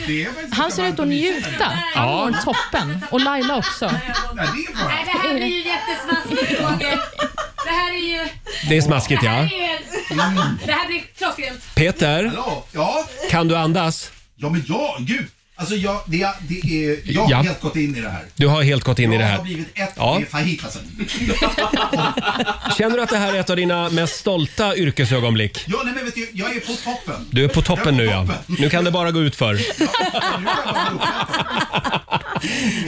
Han ser ut att njuta. Han
Ja.
mår toppen. Och Laila också.
Nej, det här blir ju jättesmaskigt Roger. Det här är ju...
Det är smaskigt, ja.
Det här, är ju- det här blir klockrent.
Peter,
Ja,
kan du andas?
ja men ja, gud. Alltså jag, det, det är, jag har
Ja.
helt gått in i det här.
Du har helt gått in i det
Jag har
här.
blivit ett
Ja.
med fajitasen.
Känner du att det här är ett av dina mest stolta yrkesögonblick?
Ja, nej men vet du, jag är på toppen.
Du är på toppen nu ja. Nu kan det bara gå ut för.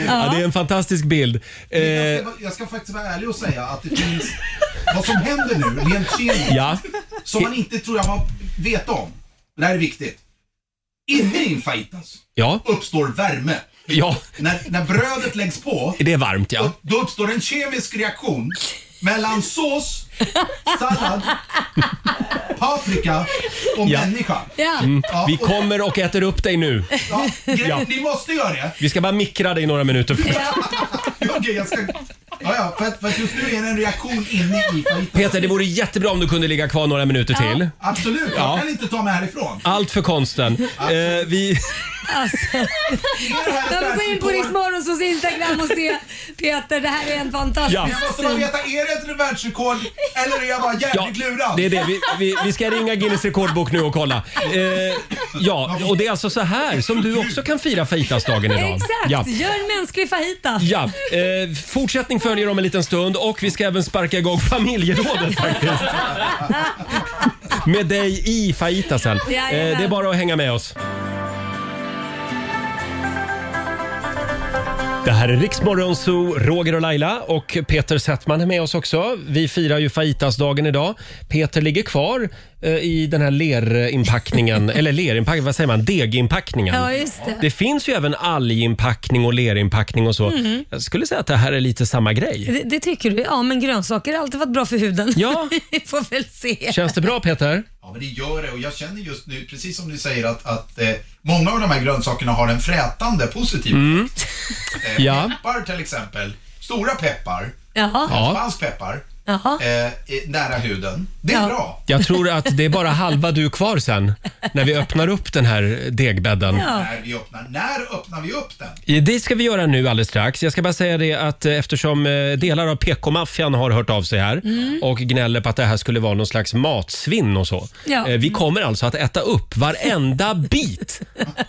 Ja, det är en fantastisk bild. Eh,
Jag ska faktiskt vara ärlig och säga att det finns, vad som händer nu rent kemiskt,
Ja.
Som man inte tror jag har vet om. Det här är viktigt. Inne infajtas
Ja.
alltså, uppstår värme.
Ja.
När, när brödet läggs på,
Det är varmt ja.
då uppstår en kemisk reaktion mellan sås, sallad, paprika och
Ja.
människa.
Mm.
Ja,
Vi
och-
kommer och äter upp dig nu.
Ja, grejen-
Ja.
Ni måste göra det.
Vi ska bara mikra dig några minuter först.
Okej, jag ska... Ja, ja, för, att, för att just nu är det en reaktion inne i fajitan.
Peter, det vore jättebra om du kunde ligga kvar några minuter till.
Absolut,
Ja.
jag kan inte ta mig härifrån.
Allt för konsten. Eh, vi...
Alltså. Jag vill gå in på Rix Morgonzoos Instagram och se Peter, det här är en fantastisk
Ja.
Jag måste bara veta, är det ett världsrekord eller är jag bara jävligt lurad?
Det är det. Vi, vi, vi ska ringa Guinness rekordbok nu och kolla. Eh, ja, och det är alltså så här som du också kan fira fajitasdagen idag.
Exakt,
Ja.
gör en mänsklig fajita.
Ja, eh, fortsättning följer om en liten stund och vi ska även sparka igång familjerådet faktiskt. Med dig i fajitasen. Eh,
Jajamän.
det är bara att hänga med oss. Det här är Riksmorgon Zoo, Roger och Laila och Peter Settman är med oss också. Vi firar ju fajitasdagen idag. Peter ligger kvar eh, i den här lerinpackningen, eller lerinpackningen, vad säger man? Deginpackningen.
Ja, just det.
Det finns ju även alginpackning och lerinpackning och så.
Mhm.
Jag skulle säga att det här är lite samma grej.
Det, det tycker du? Ja, men grönsaker har alltid varit bra för huden.
Ja.
Vi får väl se.
Känns det bra Peter?
Ja, men det gör det och jag känner just nu, precis som du säger, att, att eh, många av de här grönsakerna har en frätande positiv
Mm.
eh,
Ja.
Peppar till exempel, stora peppar,
Jaha.
Ja.
spansk peppar,
Jaha.
eh, eh, nära huden. Det är bra.
Jag tror att det är bara halva du kvar sen när vi öppnar upp den här degbädden.
När, vi öppnar, när öppnar vi upp den?
Eh, Det ska vi göra nu alldeles strax. Jag ska bara säga det att eh, eftersom eh, delar av PK-maffian har hört av sig här
Mm.
och gnäller på att det här skulle vara någon slags matsvinn och så.
Ja.
Eh, Vi kommer alltså att äta upp varenda bit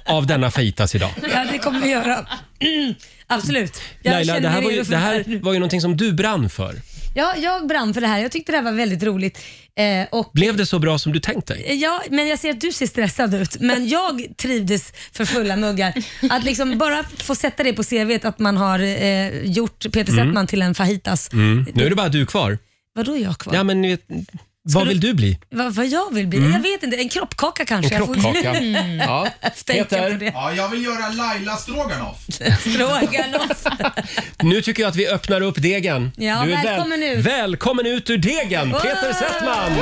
av denna fajitas idag.
Ja, det kommer vi göra. Mm, Absolut. Jag
Laila,
känner
det här,
mig
var ju,
redo för
det här var ju någonting som du brann för.
Ja, jag brann för det här. Jag tyckte det här var väldigt roligt. Eh, och
Blev det så bra som du tänkt dig?
Ja, men jag ser att du ser stressad ut, men jag trivdes för fulla muggar. Att liksom bara få sätta det på CV att man har eh, gjort Peter
Mm.
Settman till en fajitas.
Mm. Nu är det bara du kvar.
Vadå jag kvar?
Ja, men, ni vet, vad vill du bli?
Vad, vad jag vill bli?
Mm.
Jag vet inte. En kroppkaka kanske?
En kroppkaka.
Mm.
Ja.
Tänker
Peter?
på det.
Ja, jag vill göra Laila Stroganoff.
Stroganoff.
Nu tycker jag att vi öppnar upp degen.
Ja,
du
välkommen ut.
Välkommen ut ur degen, Peter Settman!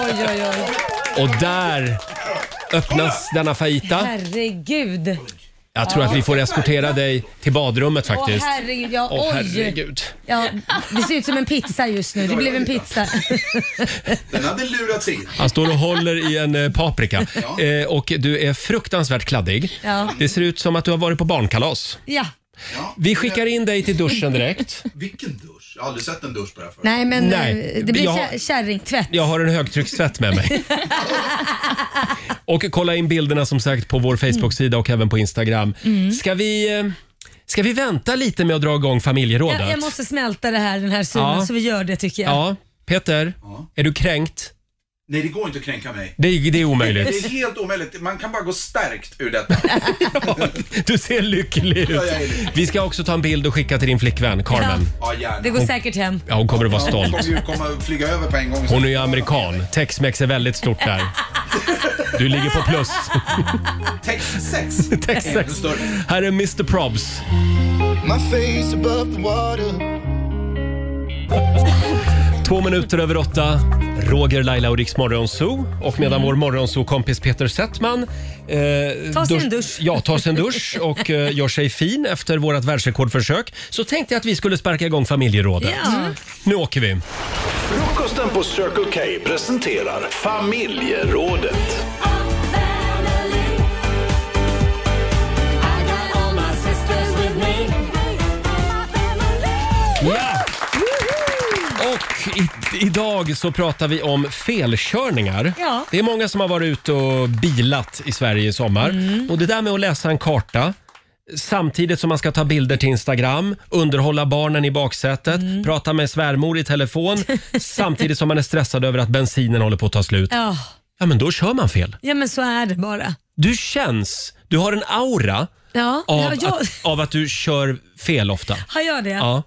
Oj, oj, oj.
Och där öppnas denna fajita.
Herregud.
Jag tror att vi får eskortera dig till badrummet faktiskt.
Åh herregud, ja,
Åh,
oj.
herregud.
Ja, det ser ut som en pizza just nu. Det blev en pizza.
Den hade lurats in.
Han står och håller i en eh, paprika. Eh, och du är fruktansvärt kladdig.
Ja.
Det ser ut som att du har varit på barnkalas.
Ja.
Vi skickar in dig till duschen direkt.
Vilken dusch? Jag har aldrig sett en dusch på det här förut.
Nej, men
Nej.
eh, det blir
Jag-
kä- kärringtvätt.
Jag har en högtryckstvätt med mig. Och kolla in bilderna som sagt på vår Facebook-sida och även på Instagram.
Mm.
Ska vi, eh, ska vi vänta lite med att dra igång familjerådet?
Jag, jag måste smälta det här, den här synen,
Ja.
så vi gör det tycker jag.
Ja, Peter, är du kränkt?
Nej, det går inte att kränka mig.
Det, är- det är
Det är
omöjligt.
helt omöjligt. Man kan bara gå stärkt ur detta.
Du ser lycklig ut.
jag är lycklig.
Vi ska också ta en bild och skicka till din flickvän Carmen.
Ja, gärna.
Det går
Hon-
säkert hem.
Ja, hon kommer att vara
Hon
stolt.
kommer ju komma och flyga över på en gång.
Hon är ju amerikan. Tex-Mex är väldigt stort där. Du ligger på plus.
Tex-sex.
Tex-Mex. Här är Mr Probs.
My face above the water
Två minuter över åtta. Roger, Laila och Riks Morgonzoo. Och medan vår Morgonzoo-kompis Peter Settman eh,
Tar sig en dusch.
Ja, tar sig en dusch och eh, gör sig fin efter vårt världsrekordförsök så tänkte jag att vi skulle sparka igång familjerådet.
Mm.
Ja.
Nu åker vi.
Frukosten på Circle K presenterar familjerådet.
Ja! Och i, idag så pratar vi om felkörningar.
Ja.
Det är många som har varit ute och bilat i Sverige i sommar.
Mm.
Och det där med att läsa en karta samtidigt som man ska ta bilder till Instagram, underhålla barnen i baksätet,
Mm.
prata med svärmor i telefon samtidigt som man är stressad över att bensinen håller på att ta slut.
Ja.
Ja, men då kör man fel.
ja, men så är det bara.
Du känns, Du har en aura
Ja,
av,
ja, jag,
att, av att du kör fel ofta.
har jag det?
Ja.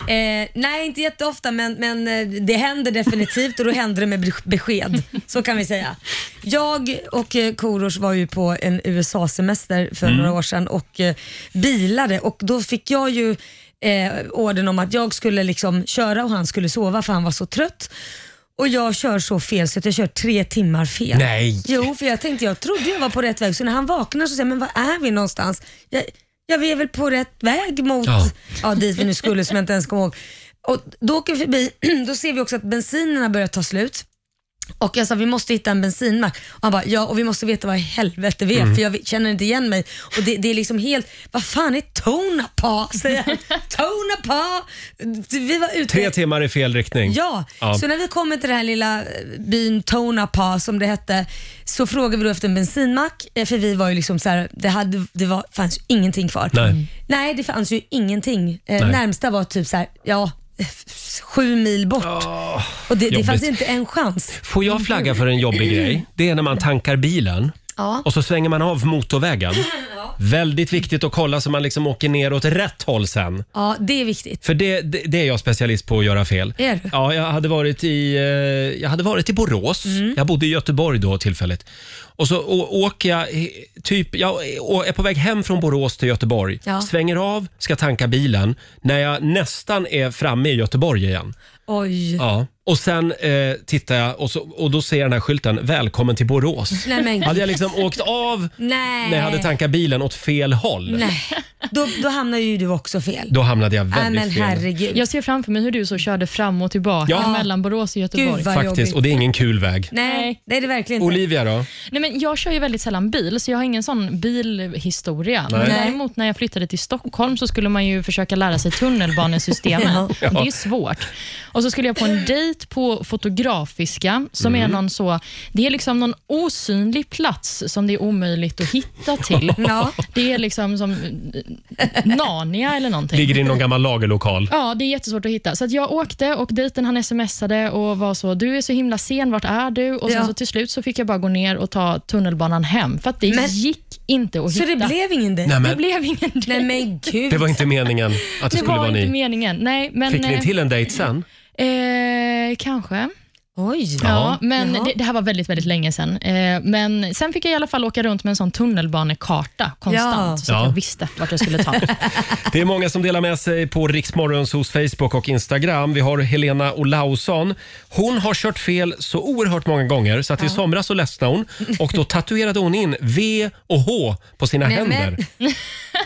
Eh, nej, inte jätteofta men, men eh, det händer definitivt och då händer det med be- besked. Så kan vi säga. Jag och eh, Korosh var ju på en USA-semester för
Mm.
några år sedan och eh, bilade och då fick jag ju eh, orden om att jag skulle liksom köra och han skulle sova för han var så trött. Och jag kör så fel så att jag kör tre timmar fel.
Nej.
Jo, för jag tänkte jag trodde jag var på rätt väg så när han vaknar så säger jag, men var är vi någonstans? Jag, jag är väl på rätt väg mot
Ja.
ja. dit vi nu skulle som jag inte ens kommer ihåg. Och då åker vi förbi, då ser vi också att bensinerna börjar ta slut. Och jag sa vi måste hitta en bensinmack. Och han bara ja och vi måste veta vad i helvete vi är
Mm.
för jag känner inte igen mig. Och det, det är liksom helt, vad fan är Tonapa? Säger han. Tonapa! Vi var ute
Tre timmar i fel riktning.
Ja, så när vi kommer till den här lilla eh, byn Tonapa som det hette så frågade vi då efter en bensinmack eh, för vi var ju liksom så här, det, hade, det var, fanns ju ingenting kvar.
Nej. Mm.
Nej, det fanns ju ingenting. Eh,
Nej.
Närmsta var typ så här, ja, sju mil bort. och det, det fanns
jobbigt.
inte en chans.
Får jag flagga för en jobbig grej? Det är när man tankar bilen
Ja.
och så svänger man av motorvägen. Väldigt viktigt att kolla så man liksom åker ner åt rätt håll sen.
Ja, det är viktigt.
För det, det, det är jag specialist på att göra fel.
Är du?
Ja, jag hade varit i, eh, jag hade varit i Borås.
Mm.
Jag bodde i Göteborg då tillfället. Och så å- åker jag, eh, typ, jag eh, å- är på väg hem från Borås till Göteborg.
Ja.
Svänger av, ska tanka bilen. När jag nästan är framme i Göteborg igen.
Oj.
Ja. Och sen eh, tittar jag och, så, och då ser jag den här skylten, välkommen till Borås.
Nej, men-
Hade jag liksom åkt av
Nej.
när jag hade tankat bilen åt fel håll,
Nej, då, då hamnar ju du också fel.
då hamnade jag väldigt fel.
Jag ser framför mig hur du så körde fram och tillbaka
Ja.
mellan Borås och Göteborg.
Faktiskt, och det är ingen kul väg.
Nej, det är det verkligen
Olivia då?
Nej, men jag kör ju väldigt sällan bil, så jag har ingen sån bilhistoria.
Nej.
Men
Nej.
däremot när jag flyttade till Stockholm så skulle man ju försöka lära sig tunnelbanesystemet.
Ja.
Och Det är ju svårt. Och så skulle jag på en dejt på Fotografiska, som är
Mm.
någon så... Det är liksom någon osynlig plats som det är omöjligt att hitta till.
Ja.
Det är liksom som eh, Narnia eller någonting.
Ligger i någon gammal lagerlokal.
Ja, det är jättesvårt att hitta. Så att jag åkte och dejten han smsade och var så, du är så himla sen, vart är du? Och sen
Ja.
så till slut så fick jag bara gå ner och ta tunnelbanan hem, för att det
Men-
gick inte att
Så
hitta.
det blev ingen dejt?
Nej, men-
Det blev ingen dejt.
Nej men gud.
Det var inte meningen att det,
Det
skulle
var
vara
inte
ni.
meningen. Nej, men,
Fick ni
eh,
till en dejt sen?
Eh, kanske.
Oj.
Ja,
Ja.
men
Jaha.
det, det här var väldigt, väldigt länge sedan. Eh, men sen fick jag i alla fall åka runt med en sån tunnelbanekarta konstant,
Ja.
så att
Ja.
jag visste vart jag skulle ta mig.
Det är många som delar med sig på Riksmorgons hos Facebook och Instagram. Vi har Helena Olausson. Hon har kört fel så oerhört många gånger så att i somras så ledsnade hon och då tatuerade hon in V och H på sina
Nej, men-
händer.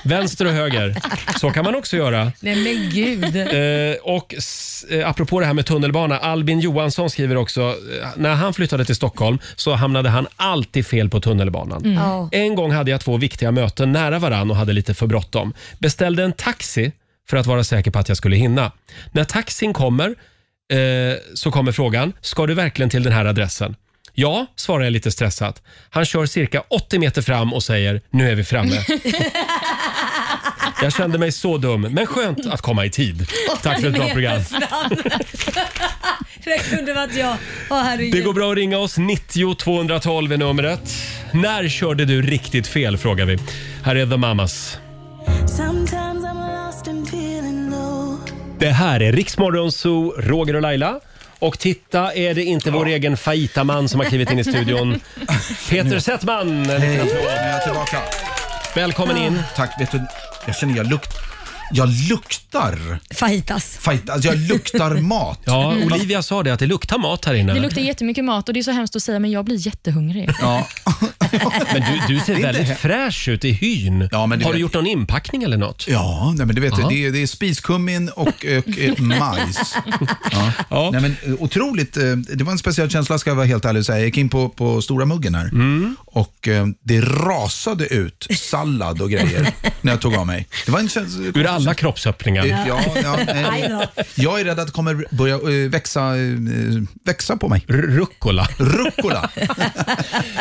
Vänster och höger. Så kan man också göra.
Nej men gud.
Eh, och s- eh, apropå det här med tunnelbana, Albin Johansson skriver också, eh, när han flyttade till Stockholm så hamnade han alltid fel på tunnelbanan.
Mm. Ja.
En gång hade jag två viktiga möten nära varann och hade lite för bråttom. Beställde en taxi för att vara säker på att jag skulle hinna. När taxin kommer eh, så kommer frågan, ska du verkligen till den här adressen? Ja, svarar jag lite stressat. Han kör cirka 80 meter fram och säger, nu är vi framme. Jag kände mig så dum, men skönt att komma i tid. Tack för ett bra program.
det kunde varit jag. Åh herregud.
Det går bra att ringa oss. 90 212 är numret. När körde du riktigt fel? frågar vi. Här är The Mamas.
Sometimes I'm lost and feeling low.
Det här är Riksmorgon Zoo, Roger och Laila. Och titta, är det inte vår egen Fajitaman som har klivit in i studion? Peter Settman! en liten
Hej,
applåd.
nu är jag tillbaka.
Välkommen in.
Tack. Vet du, jag känner jag lukt... Jag luktar...
Fajitas.
Fajt, alltså jag luktar mat.
Ja, Olivia sa det att det luktar mat här inne.
Det luktar jättemycket mat och det är så hemskt att säga, men jag blir jättehungrig.
Ja.
Men du, du
Det är
ser
inte
väldigt
he-
fräsch ut i hyn.
det
har du
vet-
gjort någon inpackning eller något?
Ja, nej, men det vet
Ja.
du, det är, det är spiskummin och, och eh, majs. Ja. Nej, men, eh, otroligt, eh, det var en speciell känsla ska jag vara helt ärlig och säga. Jag gick in på, på stora muggen här
Mm.
och eh, det rasade ut sallad och grejer när jag tog av mig. Det var en känsla,
Ur alla kroppsöppningar.
Eh, Ja, ja,
Aj
nej. Jag är rädd att det kommer börja eh, växa, eh, växa på mig.
Rucola.
Rucola.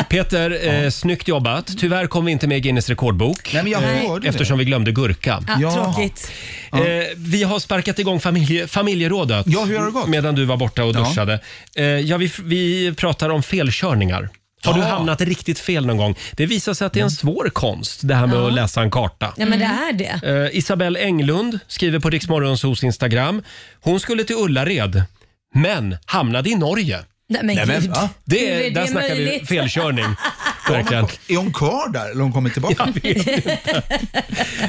Peter, eh, snyggt jobbat. Tyvärr kom vi inte med i Guinness rekordbok.
Nej, men jag
eh,
hörde det.
eftersom vi glömde gurka.
Ja, Tråkigt.
Eh, vi har sparkat igång familje, familjerådet
Ja, hur har det gått?
medan du var borta och
Ja.
duschade. Eh, ja, vi, vi pratar om felkörningar. Har du hamnat riktigt fel någon gång? Det visar sig att det
Mm.
är en svår konst, det här med
Ja.
att läsa en karta.
Ja, men det är det.
Eh, Isabel Englund skriver på Riksmorgonsos Instagram. Hon skulle till Ullared, men hamnade i Norge.
Nej, men gud.
det,
Hur
är-
är
där
det
snackar vi
möjligt?
felkörning. Verkligen.
Är hon kvar där eller har hon kommit tillbaka?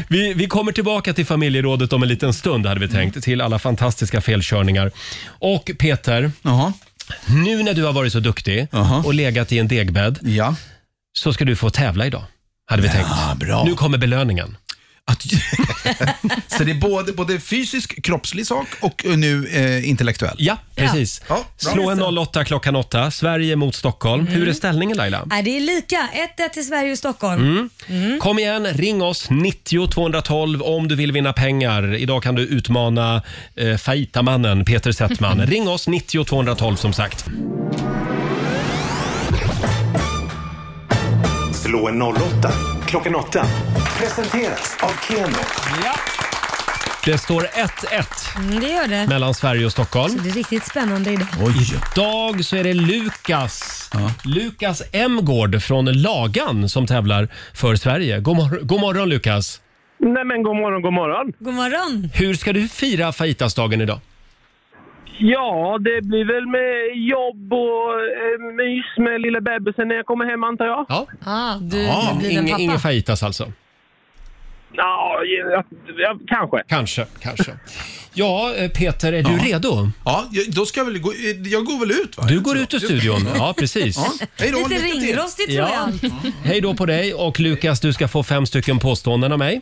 Vi, vi kommer tillbaka till familjerådet om en liten stund hade vi tänkt. Till alla fantastiska felkörningar. Och Peter, nu när du har varit så duktig och legat i en degbädd så ska du få tävla idag. Hade vi tänkt.
bra.
Nu kommer belöningen.
Så det är både, både fysisk, kroppslig sak och eh, nu eh, intellektuell?
Ja, Precis.
Ja, bra.
Slå en 08 klockan 8. Sverige mot Stockholm. Hur är ställningen Laila?
Nej, det är lika. 1-1 till Sverige och Stockholm.
Mm. Kom igen, ring oss 90 212 om du vill vinna pengar. Idag kan du utmana eh, Fajtamannen Peter Settman. ring oss 90 212 som sagt.
Slå en 08 klockan 8. Presenteras av Keno.
Ja. Det står 1-1
Mm, det gör det.
mellan Sverige och
Så
Stockholm.
det är riktigt spännande idag.
Idag så är det Lukas, Lukas Emgård från Lagan som tävlar för Sverige. God, mor- god morgon Lukas!
Nej men god morgon, god morgon.
God morgon!
Hur ska du fira fajitasdagen idag?
Ja, det blir väl med jobb och eh, mys med lilla bebisen när jag kommer hem antar jag.
Ja.
Ah, du
Ja,
du blir en
ingen,
pappa.
ingen fajitas alltså?
Ja, ja, ja, kanske.
Kanske, kanske. Ja, eh, Peter, är du
Ja.
redo?
Ja, jag- då ska jag väl gå, eh, jag går väl ut va?
Du går ut ur studion. Ja, precis.
Hej då,
Lite
lycka till.
ringrostigt tror
Ja.
jag.
Hej då på dig och Lukas, du ska få fem stycken påståenden av mig.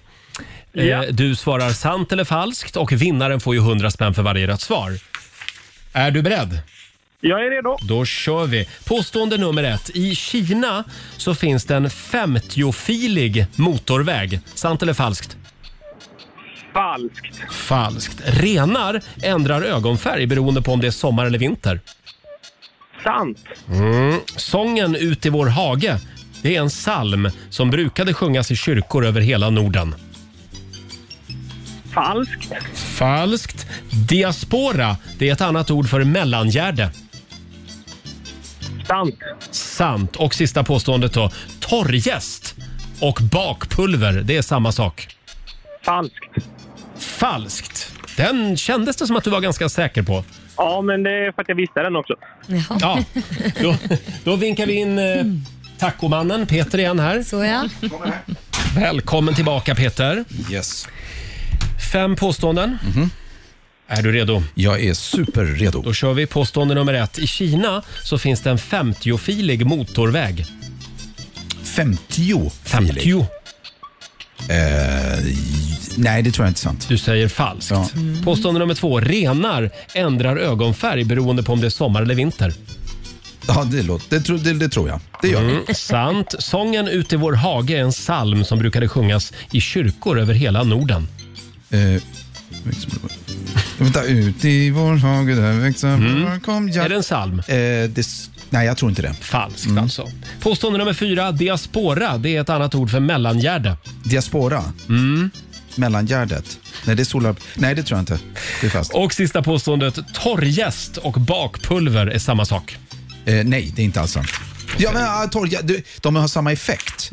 Eh,
Ja.
Du svarar sant eller falskt och vinnaren får ju 100 spänn för varje rätt svar. Är du beredd?
Jag är redo.
Då kör vi. Påstående nummer ett. I Kina så finns det en 50-filig motorväg. Sant eller falskt?
Falskt.
Falskt. Renar ändrar ögonfärg beroende på om det är sommar eller vinter.
Sant.
Mm. Sången Ut i vår hage det är en psalm som brukade sjungas i kyrkor över hela Norden.
Falskt.
Falskt. Diaspora det är ett annat ord för mellangärde.
Sant.
Sant. Och sista påståendet då. Torrjäst och bakpulver, det är samma sak.
Falskt.
Falskt. Den kändes det som att du var ganska säker på.
Ja, men det är för att jag visste den också.
Ja, då, då vinkar vi in eh, tacomannen Peter igen här.
Så ja.
Välkommen tillbaka Peter.
Yes. Mhm.
Fem påståenden. Är du redo?
Jag är superredo.
Då kör vi påstående nummer ett. I Kina så finns det en 50-filig motorväg.
50.
50.
Eh, nej, det tror jag inte är sant.
Du säger falskt. Påstående nummer två. Renar ändrar ögonfärg beroende på om det är sommar eller vinter.
Ja, det, låter, det, tror- det, det tror jag. Det gör
Mm, sant. Sången Ut i vår hage är en psalm som brukade sjungas i kyrkor över hela Norden.
jag. Eh, vänta, ut i vår hage där växer mm. kom jag. Är det
en psalm? Eh,
det, s- nej, jag tror inte det. Mm.
Falskt alltså. Påstående nummer fyra. Diaspora det är ett annat ord för mellangärde.
Diaspora?
Mm.
Mellangärdet? Nej, det är solar... Nej, det tror jag inte. Det är fast.
Och sista påståendet. Torrjäst och bakpulver är samma sak.
Eh, nej, det är inte alls sant. Ja, men, ah, torr, ja, du, de har samma effekt,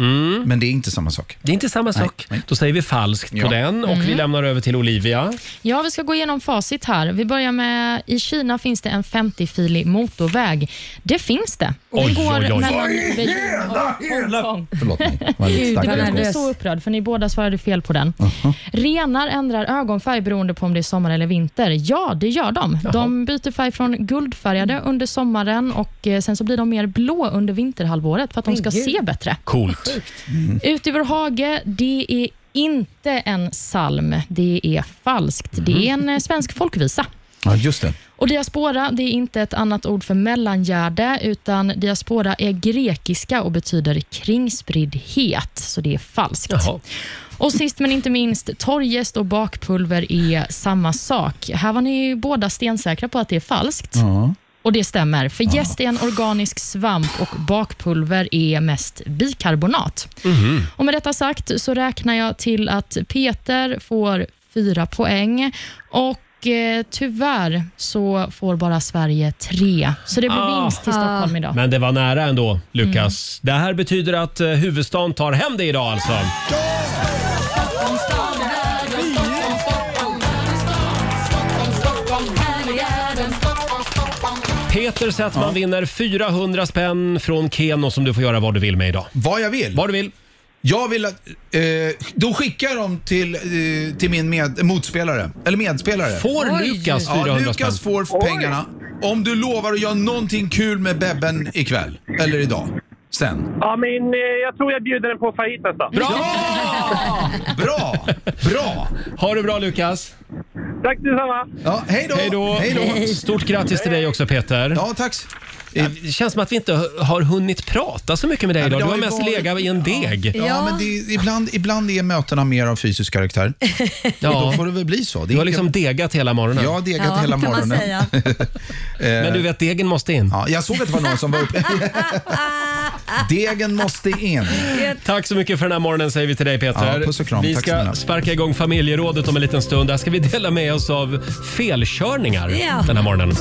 men det är inte samma sak.
Mm. Det är inte samma sak. Då säger vi falskt på den och vi
Mm.
lämnar över till Olivia.
Ja, vi ska gå igenom facit här. Vi börjar med, i Kina finns det en 50-filig motorväg. Det finns det. Och
Oj,
det går
oj, oj.
mellan
Oj,
Beijing och Hongkong.
Förlåt mig. Vad
Gud,
stark
jag blev
reaktion.
så upprörd för ni båda svarade fel på den. Renar ändrar ögonfärg beroende på om det är sommar eller vinter. Ja, det gör de. De byter färg från guldfärgade under sommaren och eh, sen så blir de mer blå under vinterhalvåret för att de
Men
ska
gud.
se bättre.
Coolt.
Ut i vår hage, det är inte en psalm. Det är falskt. Det är en eh, svensk folkvisa.
Ja, just det.
Och diaspora, det är inte ett annat ord för mellangärde, utan diaspora är grekiska och betyder kringspriddhet, så det är falskt. Och sist men inte minst, torrjäst och bakpulver är samma sak. Här var ni ju båda stensäkra på att det är falskt.
Ja.
Och det stämmer, för jäst är en organisk svamp och bakpulver är mest bikarbonat.
Mm-hmm.
Och med detta sagt så räknar jag till att Peter får fyra poäng och Och eh, tyvärr så får bara Sverige tre. Så det blir
Ah.
vinst till Stockholm idag. Mm.
Men det var nära ändå, Lukas. Det här betyder att eh, huvudstaden tar hem det idag alltså. Peter Settman vinner 400 spänn från Keno som du får göra vad du vill med idag.
Vad jag vill?
Vad du
Eh,
vill.
Jag vill att... Eh, då skickar jag dem till, eh, till min med, motspelare. Eller medspelare.
Får Oj. Lukas
Ja,
400
Lukas
spänn?
får pengarna om du lovar att göra någonting kul med Bebben ikväll. Eller idag. Sen.
Ja, men eh, jag tror jag bjuder den på fajit nästa.
Bra! Bra! Bra!
Ha det bra Lukas!
Tack detsamma!
Ja, hej då!
Hej då! Stort grattis till dig också Peter.
Ja, tack.
Det känns som att vi inte har hunnit prata så mycket med dig
Nej, men
idag.
det
Du har
ju
mest
varit-
legat i en deg.
Ja, ja men det, ibland, ibland är mötena mer av fysisk karaktär.
Ja.
Och då får det väl bli så. Det är
Du har
inget-
liksom degat hela morgonen.
Jag har degat Ja, hela kan man morgonen. säga.
Men du vet, degen måste in.
Ja, jag såg att det var någon som var uppe. Degen måste in.
Tack så mycket för den här morgonen säger vi till dig Peter.
Ja, puss och kram.
Vi
Tack
ska
snälla.
sparka igång familjerådet om en liten stund. Där ska vi dela med oss av felkörningar
Ja.
den här morgonen.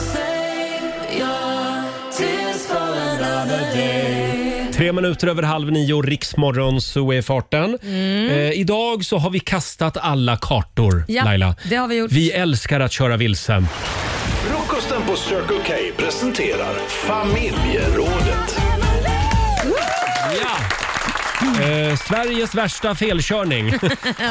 Tre minuter över halv nio, Riksmorgon, så är farten.
Mm.
Eh, idag så har vi kastat alla kartor,
Ja,
Laila.
det har vi gjort.
Vi älskar att köra vilse.
Frukosten på Circle K presenterar Familjerådet.
Eh, Sveriges värsta felkörning.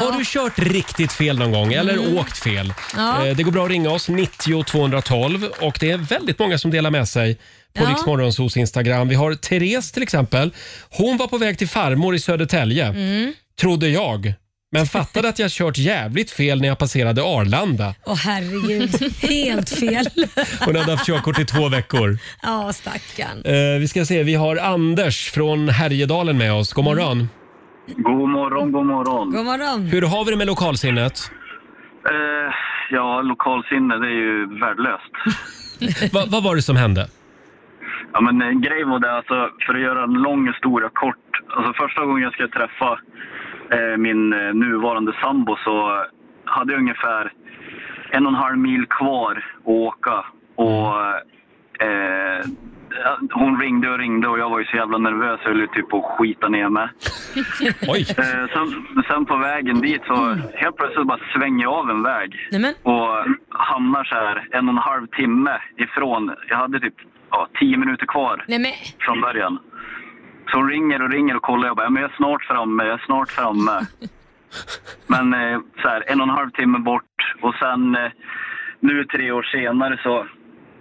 Har du kört riktigt fel någon gång eller
Mm.
åkt fel?
Ja.
Eh, det går bra att ringa oss, 90 212 och det är väldigt många som delar med sig på
Ja.
ja. Riksmorgonsos Instagram. Vi har Therese till exempel. Hon var på väg till farmor i Södertälje,
Mm.
trodde jag. Men fattade att jag kört jävligt fel när jag passerade Arlanda.
Åh herregud, helt fel.
Hon hade haft körkort i två veckor.
Ja, stackarn.
Eh, vi ska se, vi har Anders från Härjedalen med oss. God
Mm.
morgon.
God morgon, god morgon.
God morgon.
Hur har vi det med lokalsinnet?
Eh, ja, lokalsinne det är ju värdelöst.
Va, vad var det som hände?
Ja, men eh, grejen var det, alltså, för att göra en lång historia kort. Alltså, första gången jag skulle träffa eh, min eh, nuvarande sambo så hade jag ungefär en och en halv mil kvar att åka. Och, eh, hon ringde och ringde och jag var ju så jävla nervös. Jag höll ju typ på att skita ner mig. Eh, sen, sen på vägen dit så helt plötsligt bara svänger jag av en väg och hamnar så här en och en halv timme ifrån. Jag hade typ ja, tio minuter kvar
Nej men,
från början. Så hon ringer och ringer och kollar. Jag bara, ja, men jag är snart framme, jag är snart framme. Men eh, så här, en och en halv timme bort och sen eh, nu tre år senare så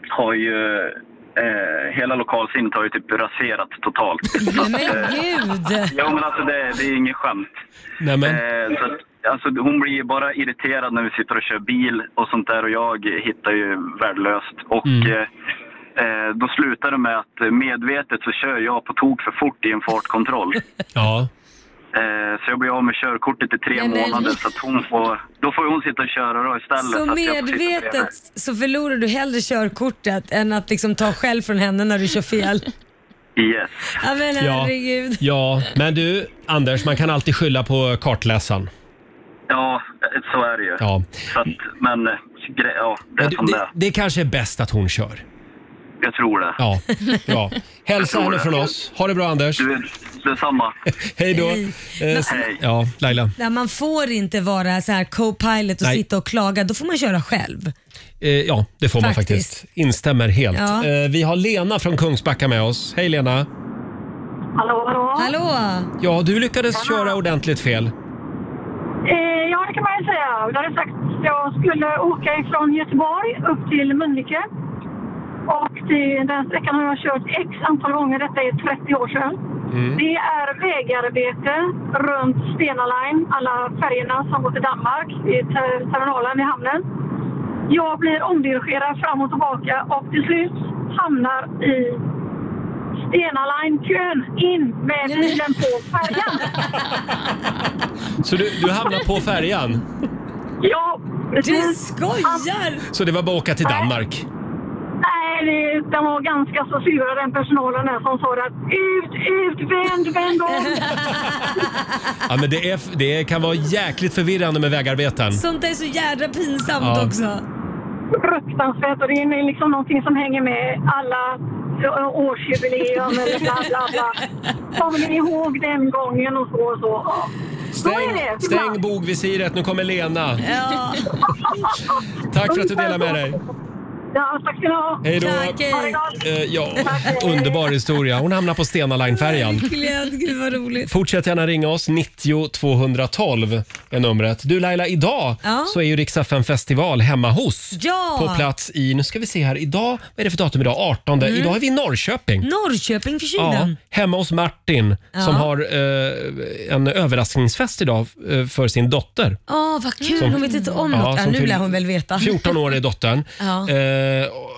har ju eh, hela lokalsinnet har ju typ raserat totalt. eh,
nej men gud.
Jo men alltså det, det är inget skämt.
Nej, men.
Eh, så att, alltså, hon blir ju bara irriterad när vi sitter och kör bil och sånt där och jag hittar ju värdelöst. Och
Mm.
eh, eh, då slutar det med att eh, medvetet så kör jag på tok för fort i en fartkontroll.
Ja.
Eh, så jag blir av med körkortet i tre
Nej, men-
månader så att hon får, då får hon sitta och köra då istället.
Så
att jag får sitta bredvid.
medvetet så förlorar du hellre körkortet än att liksom ta själv från henne när du kör fel.
Yes.
Ja men herregud.
ja, men du Anders, man kan alltid skylla på kartläsaren.
Ja, eh, så är det ju.
Ja.
Så att, men eh, gre- ja, det är
Men du,
som det
det,
är.
det kanske är bäst att hon kör.
Jag tror det.
Ja, bra. Hälsa henne från oss. Ha det bra Anders.
Du, detsamma.
Hej då.
Hej.
Eh, s-
Hej.
ja, Laila.
Där man får inte vara så här co-pilot och
Nej.
sitta och klaga. Då får man köra själv.
Eh, ja, det får man
Faktiskt.
faktiskt. Instämmer helt.
Ja.
Eh, vi har Lena från Kungsbacka med oss. Hej Lena.
Hallå, hallå?
Hallå!
Ja, du lyckades köra ordentligt fel.
Eh, ja, det kan man ju säga. Jag hade sagt att jag skulle åka ifrån Göteborg upp till Mölnlycke. Och det, den sträckan har jag kört x antal gånger. Detta är 30 år sedan.
Mm.
Det är vägarbete runt Stena Line, alla färjorna som går till Danmark, i ter- terminalen i hamnen. Jag blir omdirigerad fram och tillbaka och till slut hamnar i Stena Line-kön in med bilen på färjan.
Så du, du hamnade på färjan.
Ja,
Du
Mm.
skojar!
Så det var bara att åka till Danmark.
Nej, det- de var ganska så sura den personalen där som sa att ut, ut, vänd, vänd om.
Ja, men det, är, det kan vara jäkligt förvirrande med vägarbeten.
Sånt är så jädra pinsamt
Ja.
också.
fruktansvärt och det är liksom någonting som hänger med alla ö, årsjubileum eller bla bla bla. Kommer ni ihåg den gången och så och så? Ja. Så är
Stäng,
det.
stäng bogvisiret, nu kommer Lena.
Ja.
Tack för att du delar med dig.
Ja, tack ska ni ha.
Hej då.
Tack, hej.
Ha det Eh, ja, underbar historia. Hon hamnar på Stena Line-färjan.
Verkligen, gud vad roligt.
Fortsätt gärna ringa oss, 90 212 är numret. Du Laila, idag
Ja.
så är ju Rix FM festival hemma hos.
Ja.
På plats i, nu ska vi se här, idag, vad är det för datum idag? 18.
Mm.
Idag är vi i Norrköping.
Norrköping för
Ja,
kylen.
hemma hos Martin
Ja.
som har eh, en överraskningsfest idag eh, för sin dotter.
Ja, vad kul.
Som-
hon vet inte om
Ja,
något. Ja,
som
nu
fyll-
lär hon väl veta.
14 år är dottern.
Ja.
Eh,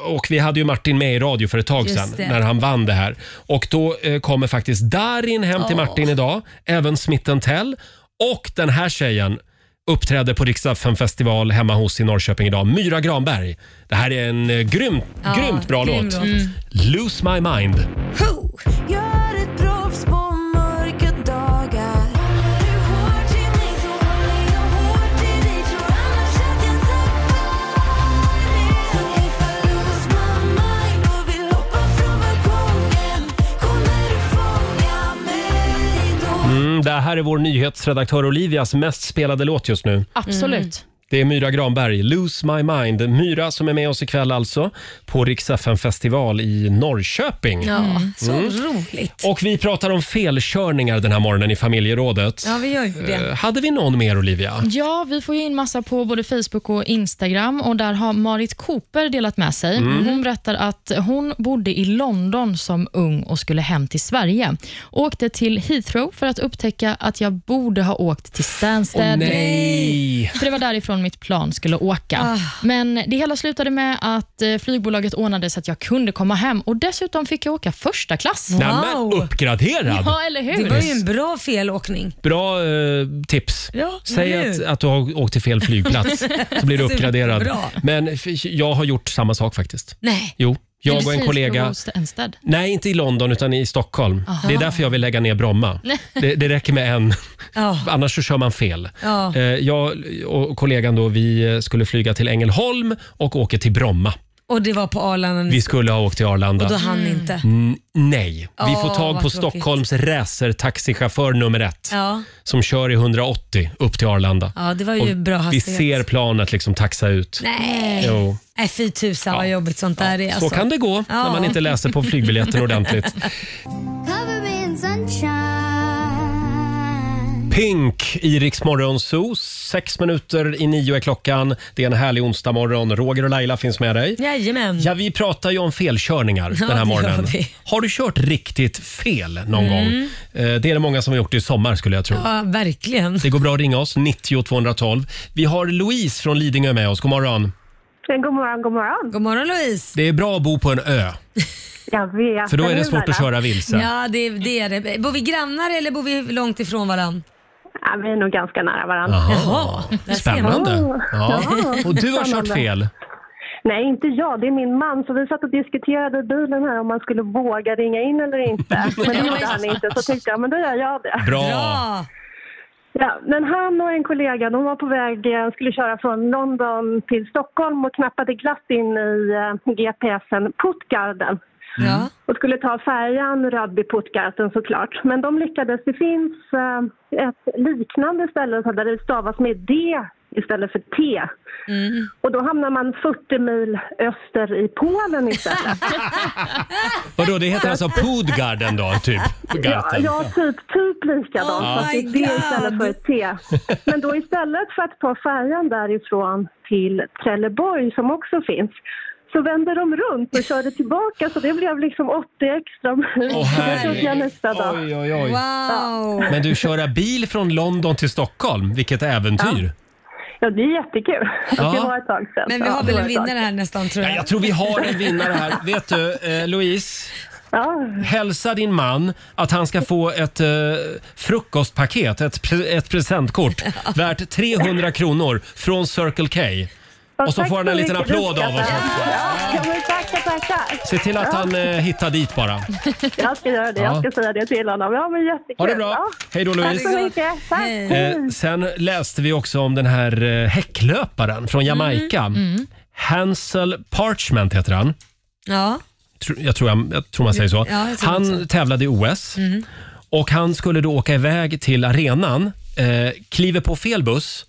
och vi hade ju Martin med i radio för ett tag
Just
sedan
det.
när han vann det här. Och då eh, kommer faktiskt Darin hem till
Åh.
Martin idag, även Smitten Tell. Och den här tjejen uppträdde på Riksdagen festival hemma hos i Norrköping idag, Myra Granberg. Det här är en eh, grymt,
Ja,
grymt bra
grym
låt.
låt. Mm.
Lose my mind.
Gör ett proffs på mörka dagar.
Mm, det här är vår nyhetsredaktör Olivias mest spelade låt just nu.
Absolut.
Mm.
Det är Myra Granberg, Lose My Mind. Myra som är med oss ikväll alltså på Rix FM festival i Norrköping.
Ja, så
Mm.
roligt.
Och vi pratar om felkörningar den här morgonen i familjerådet.
Ja, vi gör ju det.
Eh, Hade vi någon mer Olivia?
Ja, vi får ju in massa på både Facebook och Instagram och där har Marit Cooper delat med sig.
Mm.
Hon berättar att hon bodde i London som ung och skulle hem till Sverige. Åkte till Heathrow för att upptäcka att jag borde ha åkt till Stansted.
Åh, nej.
För det var därifrån mitt plan skulle åka.
Ah,
Men det hela slutade med att eh, flygbolaget ordnade så att jag kunde komma hem och dessutom fick jag åka första klass.
Nämen, uppgraderad!
Ja, eller hur?
Det var ju en bra felåkning.
Bra eh, tips.
Ja,
Säg
nu.
att, att du har åkt till fel flygplats så blir du uppgraderad.
Superbra.
Men f- jag har gjort samma sak faktiskt.
Nej.
Jo, jag och en
Precis,
kollega.
på Stansted.
Nej, inte i London utan i Stockholm.
Aha.
Det är därför jag vill lägga ner Bromma. Det, det räcker med en,
Ja.
annars så kör man fel.
Ja.
Eh, Jag och kollegan då, vi skulle flyga till Ängelholm och åka till Bromma.
Och det var på Arlanda.
Vi skulle ha åkt till Arlanda.
Mm. Och då hann
Mm.
ni inte.
N- nej, vi
Åh,
får tag
vad
på
tråkigt.
Stockholms racertaxichaufför nummer ett
Ja.
som kör i 180 upp till Arlanda.
ja, det var ju
Och
bra
vi
hastighet.
ser planet liksom taxa ut.
Nej.
Jo.
Nej, fy tusan vad jobbigt sånt där är.
Så
Alltså.
kan det gå när
Ja.
man inte läser på flygbiljetten ordentligt.
Cover me in sunshine.
Pink i Rix Morgon Zoo. Sex minuter i nio är klockan. Det är en härlig onsdag morgon. Roger och Laila finns med dig.
Jajamän.
Ja, vi pratar ju om felkörningar
Ja,
den här
det gör
morgonen.
vi.
Har du kört riktigt fel någon
Mm.
gång? Eh, Det är det många som har gjort i sommar skulle jag tro.
Ja, verkligen.
Det går bra att ringa oss, 90 212. Vi har Louise från Lidingö med oss. God morgon.
God morgon, god morgon.
God morgon Louise.
Det är bra att bo på en ö.
Jag vet.
För då är det svårt att köra vilse.
Ja, det, det är det. Bor vi grannar eller bor vi långt ifrån varandra?
Ja, vi är nog ganska nära Oh. varandra.
Jaha,
där ser man.
Spännande. Ja.
Ja,
Och du har kört
spännande.
fel.
Nej, inte jag. Det är min man. Så vi satt och diskuterade i bilen här om man skulle våga ringa in eller inte. Men det gjorde han inte. Så tänkte jag, men då gör jag det.
Bra.
Bra.
Ja, men han och en kollega, de var på väg, eh, skulle köra från London till Stockholm och knappade glatt in i eh, GPSen Puttgarden.
Ja.
och skulle ta färjan Rödby-Puttgarten såklart. Men de lyckades. Det finns eh, ett liknande ställe där det stavas med D istället för T. Och då hamnar man 40 mil öster i Polen istället.
Vadå, det heter alltså Pudgarden då, typ?
ja,
Garten.
ja, typ, typ likadant.
Oh
fast det
my
är D istället för ett T. Men då istället för att ta färjan därifrån till Trelleborg som också finns så vände de runt och körde tillbaka så det blev liksom 80 extra mil.
Åh,
det tog jag
herregud.
nästa dag.
Oj, oj, oj.
Ja.
Men du, köra bil från London till Stockholm, vilket äventyr.
Ja, det är jättekul.
Ja.
Det var ett tag sedan.
Men vi
Ja,
har
det
väl
var
en
ett tag.
vinnare här nästan tror jag.
Jag tror vi har en vinnare här. Vet du, eh, Louise? Hälsa din man att han ska få ett eh, frukostpaket, ett, pre- ett presentkort värt 300 kronor från Circle K.
Ja,
Och så
tack
får han en
så
liten
mycket. Det
applåd av oss
uppskattar
också.
jag. Ja, men tackar, tackar.
Se till att
Ja.
han eh, hittar dit bara.
Jag ska göra det. Jag ska säga det till honom. Ja, men jättekul.
Ha det bra.
Ja.
Hej då, Louise.
Tack så mycket. Tack.
Mm.
Eh, sen läste vi också om den här eh, häcklöparen från eh, Jamaica. Hansel Parchment heter han.
Ja.
Tr- Jag tror, jag, jag tror man säger så.
Ja, jag tror också.
han tävlade i OS
Mm.
och han skulle då åka iväg till arenan, eh, kliver på fel buss.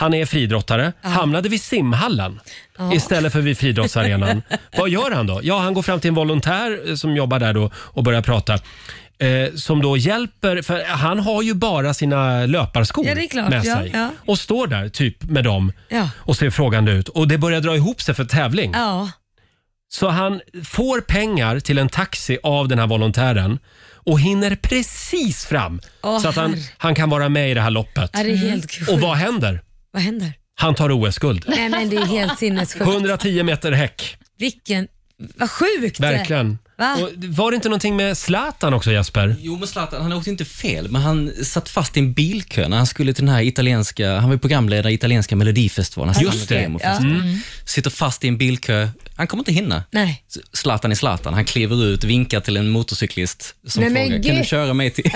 Han är friidrottare, hamnade vid simhallen
Ja.
istället för vid friidrottsarenan. Vad gör han då? Ja, han går fram till en volontär eh, som jobbar där då och börjar prata. Eh, som då hjälper, för han har ju bara sina löparskor
Ja, det är klart.
med
Ja,
sig.
ja.
Och står där typ med dem
Ja.
och ser frågande ut. Och det börjar dra ihop sig för tävling.
Ja.
Så han får pengar till en taxi av den här volontären och hinner precis fram
Åh,
så att han,
herre.
han kan vara med i det här loppet.
Ja, det är helt
och vad händer?
Vad händer?
Han tar OS-guld.
Nej men det är helt sinnessjukt.
110 meter häck.
Vilken... Vad sjukt!
Verkligen.
Va?
Och var det inte någonting med Zlatan också Jesper?
Jo, men Zlatan, han åkte inte fel, men han satt fast i en bilkö när han skulle till den här italienska, han var ju programledare i italienska melodifestivalen. Han
Just
stannade
det.
hem och
Ja.
festivalen.
Mm.
Sitter fast i en bilkö, han kommer inte hinna.
Nej.
Z- Zlatan är Zlatan, han kliver ut, vinkar till en motorcyklist som
Nej, men
frågar, kan du
gud."
köra mig till,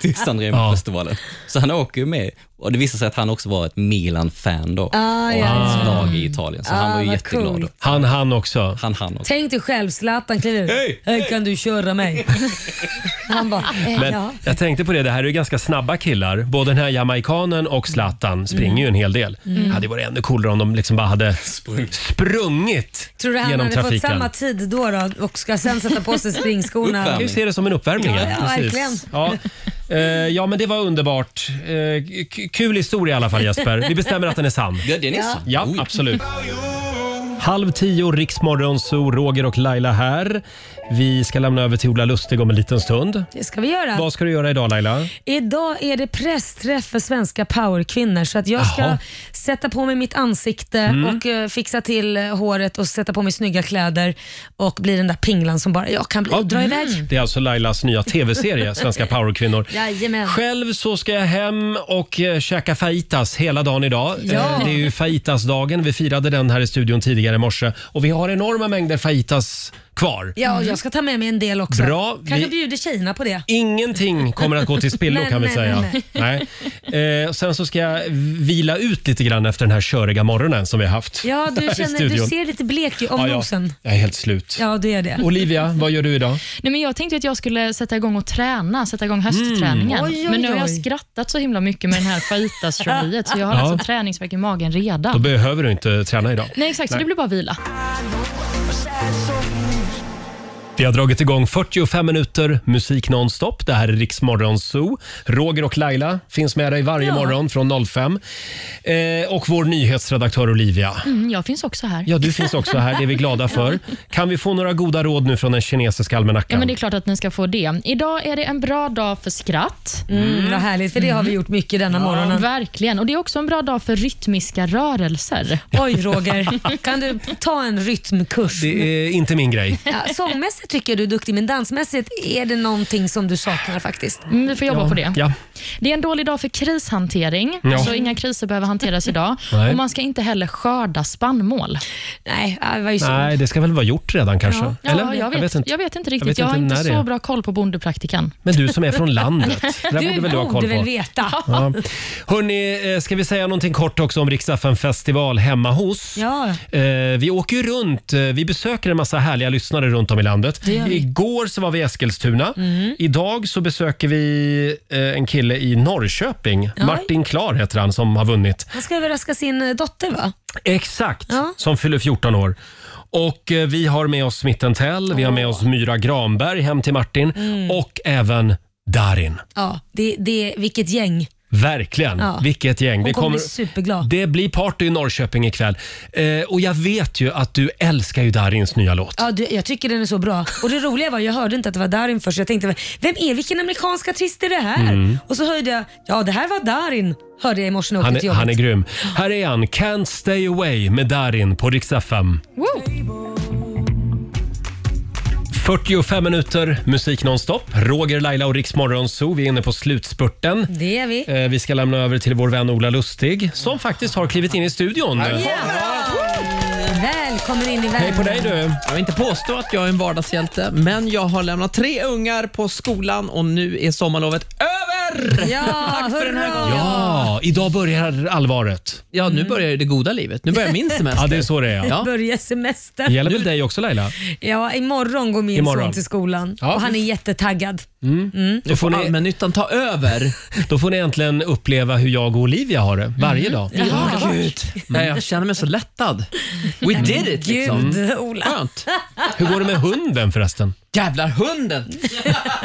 till Sanremo-festivalen? Så han åker ju med, och det visar sig att han också var ett Milan-fan då,
Ah,
och
ja,
hans
ja.
lag i Italien, så han
Ah,
var ju
vad
jätteglad.
coolt.
Han han också.
Han han också.
Tänk dig själv, Zlatan kliver ut. Hej, kan du köra mig? Han bara, eh,
Men
ja.
jag tänkte på det, det här är ju ganska snabba killar. Både den här jamaikanen och Zlatan springer
Mm.
ju en hel del.
Mm.
Hade ju varit ännu coolare om de liksom bara hade sprungit
Tror du han
genom
hade fått
trafiken.
samma tid då, då och ska sen sätta på sig
Man
springskorna?
kan ju se det som en uppvärmning.
Ja, ja,
precis.
verkligen.
Ja. Eh, ja, men det var underbart. Eh, k- kul historia i alla fall Jesper. Vi bestämmer att den är sann.
Ja, den är sann.
Ja, absolut. Halv tio, Riksmorgon, så Roger och Laila här. Vi ska lämna över till Ola Lustig om en liten stund.
Det ska vi göra.
Vad ska du göra idag Laila?
Idag är det pressträff för svenska powerkvinnor så att jag ska
Jaha.
sätta på mig mitt ansikte
Mm.
och eh, fixa till eh, håret och sätta på mig snygga kläder och bli den där pinglan som bara jag kan bli. Dra iväg.
Det är alltså Lailas nya tv-serie, Svenska powerkvinnor.
Jajamän.
Själv så ska jag hem och eh, käka fajitas hela dagen idag.
Ja.
Eh, Det är ju fajitasdagen. Vi firade den här i studion tidigare i morse och vi har enorma mängder fajitas kvar.
Ja, och jag ska ta med mig en del också.
Bra,
Kanske
vi-
bjuder tjejerna på det.
Ingenting Mm, kommer att gå till spillo
Nej,
kan vi
nej,
säga.
nej,
Nej. Eh, sen så ska jag vila ut lite grann efter den här köriga morgonen som vi har haft.
Ja,
här
du,
i
känner, du
studion.
ser lite blek ut om
ja,
nosen.
Jag är helt slut.
Ja, du är det.
Olivia, vad gör du idag?
Nej, men jag tänkte att jag skulle sätta igång och träna, sätta igång höstträningen.
Mm. Oj, oj,
men nu har jag
oj.
skrattat så himla mycket med den här fajitas-tjoliet, så jag har
Ja.
alltså träningsvärk i magen redan.
Då behöver du inte träna idag.
Nej, exakt. Så det blir bara vila.
Vi har dragit igång 45 minuter musik nonstop. Det här är Rix Morgon Zoo. Roger och Laila finns med dig varje morgon från 05. Eh, och vår nyhetsredaktör Olivia.
Mm, jag finns också här.
Ja, du finns också här. Det är vi glada för. Kan vi få några goda råd nu från den kinesiska
Ja,
almanackan?
men det är klart att ni ska få det. Idag är det en bra dag för skratt.
Mm, vad härligt, för det har vi gjort mycket denna morgonen.
Verkligen. Och Det är också en bra dag för rytmiska rörelser.
Oj, Roger. Kan du ta en rytmkurs?
Det är inte min grej.
Ja, sångmässigt tycker jag du är duktig, men dansmässigt är det någonting som du saknar faktiskt.
Mm, vi får jobba
Ja,
på det.
Ja.
Det är en dålig dag för krishantering,
Ja.
så inga kriser behöver hanteras idag.
Nej.
Och Man ska inte heller skörda spannmål.
Nej, det var ju
Nej, det ska väl vara gjort redan kanske?
Ja, ja, jag, vet, jag, vet inte. riktigt. Jag,
vet
har inte
när det
så
är.
bra koll på bondepraktikan.
Men du som är från landet, det där borde väl du ha koll på.
veta.
Ja. Hörni, eh, ska vi säga någonting kort också om Riksdagen festival hemma hos?
Ja.
Eh, vi åker ju runt, eh, vi besöker en massa härliga lyssnare runt om i landet.
Det gör vi. Mm.
Igår så var vi i Eskilstuna. Idag så besöker vi eh, en kille i Norrköping.
Ja.
Martin Klar heter han som har vunnit.
Han ska överraska sin eh, dotter va?
Exakt, som fyller 14 år. Och eh, vi har med oss Smitten Tell, vi har med oss Myra Granberg hem till Martin
Mm.
och även Darin.
Ja, det, det, vilket gäng.
Verkligen,
Ja.
vilket gäng.
Hon
Det
kommer,
kommer-
bli superglad.
det blir party i Norrköping ikväll. Eh, och jag vet ju att du älskar ju Darins nya låt.
Ja, du, jag tycker den är så bra. Och det roliga var, jag hörde inte att det var Darin först. Jag tänkte, vem är, vilken amerikansk artist är det här?
Mm.
Och så hörde jag, ja det här var Darin. Hörde jag i morse när jag
Han
åkte till
är,
jobbet.
han är grym. Här är han, Can't Stay Away med Darin på Rix FM.
Woo!
45 minuter musik nonstop. Roger, Laila och Rix Morgonzoo. Vi är inne på slutspurten.
Det är vi.
Eh, vi ska lämna över till vår vän Ola Lustig som faktiskt har klivit in i studion.
Välkommen in i världen.
Jag vill inte påstå att jag är en vardagshjälte, men jag har lämnat tre ungar på skolan och nu är sommarlovet över! Peter!
Ja,
Tack för den här
hurra!
gången.
Ja, idag börjar allvaret.
Ja, nu börjar det goda livet. Nu börjar min semester.
Ja, det är så det är.
Det
Ja.
börjar semester.
Det gäller väl dig också Laila?
Ja, imorgon går min
Imorgon.
son till skolan
Ja.
och han är jättetaggad.
Mm.
Mm.
Då får allmännyttan ta över. Då får ni äntligen uppleva hur jag och Olivia har det varje dag.
Ja,
Jaha.
gud. Nej, Mm. jag känner mig så lättad. We
Mm.
did it liksom.
Gud, Ola.
Skönt.
Hur går det med hunden förresten?
Jävlar, hunden!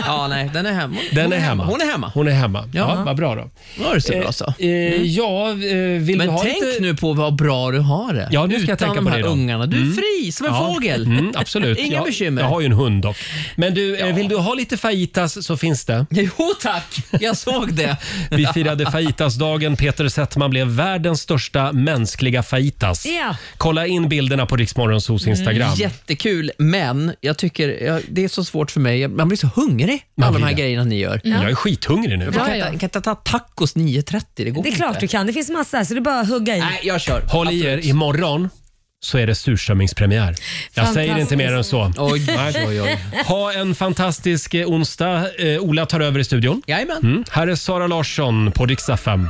Ja, nej, den är hemma.
Den är hemma.
Hon är hemma.
Hon är hemma. Ja,
Ja.
vad bra då.
Ja, det ser
Eh,
bra så. Mm.
eh, ja, eh, vill
Men
du ha
tänk
lite...
nu på vad bra du har det.
Ja, nu ska
Utan
jag tänka
de
på
här
det då.
ungarna. Du är
Mm.
fri som en
Ja.
fågel.
Mm, absolut.
Inga
jag,
bekymmer.
Jag har ju en hund dock. Men du, eh, vill du ha lite fajitas så finns det.
Jo tack, jag såg det.
Vi firade fajitasdagen. Peter Settman blev världens största mänskliga fajitas.
Ja.
Kolla in bilderna på Riksmorgonsos
Mm,
Instagram.
Jättekul, men jag tycker ja, det är så svårt för mig. Jag- Man blir så hungrig av alla de
blir
här
det.
grejerna ni gör.
Ja. Jag är skithungrig nu.
Jag kan, inte- kan inte ta tacos 9.30, det går
Det är
inte.
klart du kan. Det finns massa här, så det är bara att hugga i.
Nej, jag kör.
Håll i er, imorgon så är det surströmmingspremiär. Jag säger inte mer än så.
Oj,
Nej.
oj, oj.
Ha en fantastisk eh, onsdag. Eh, Ola tar över i studion.
Jajamän.
Mm. Här är Sara Larsson på Riksa 5.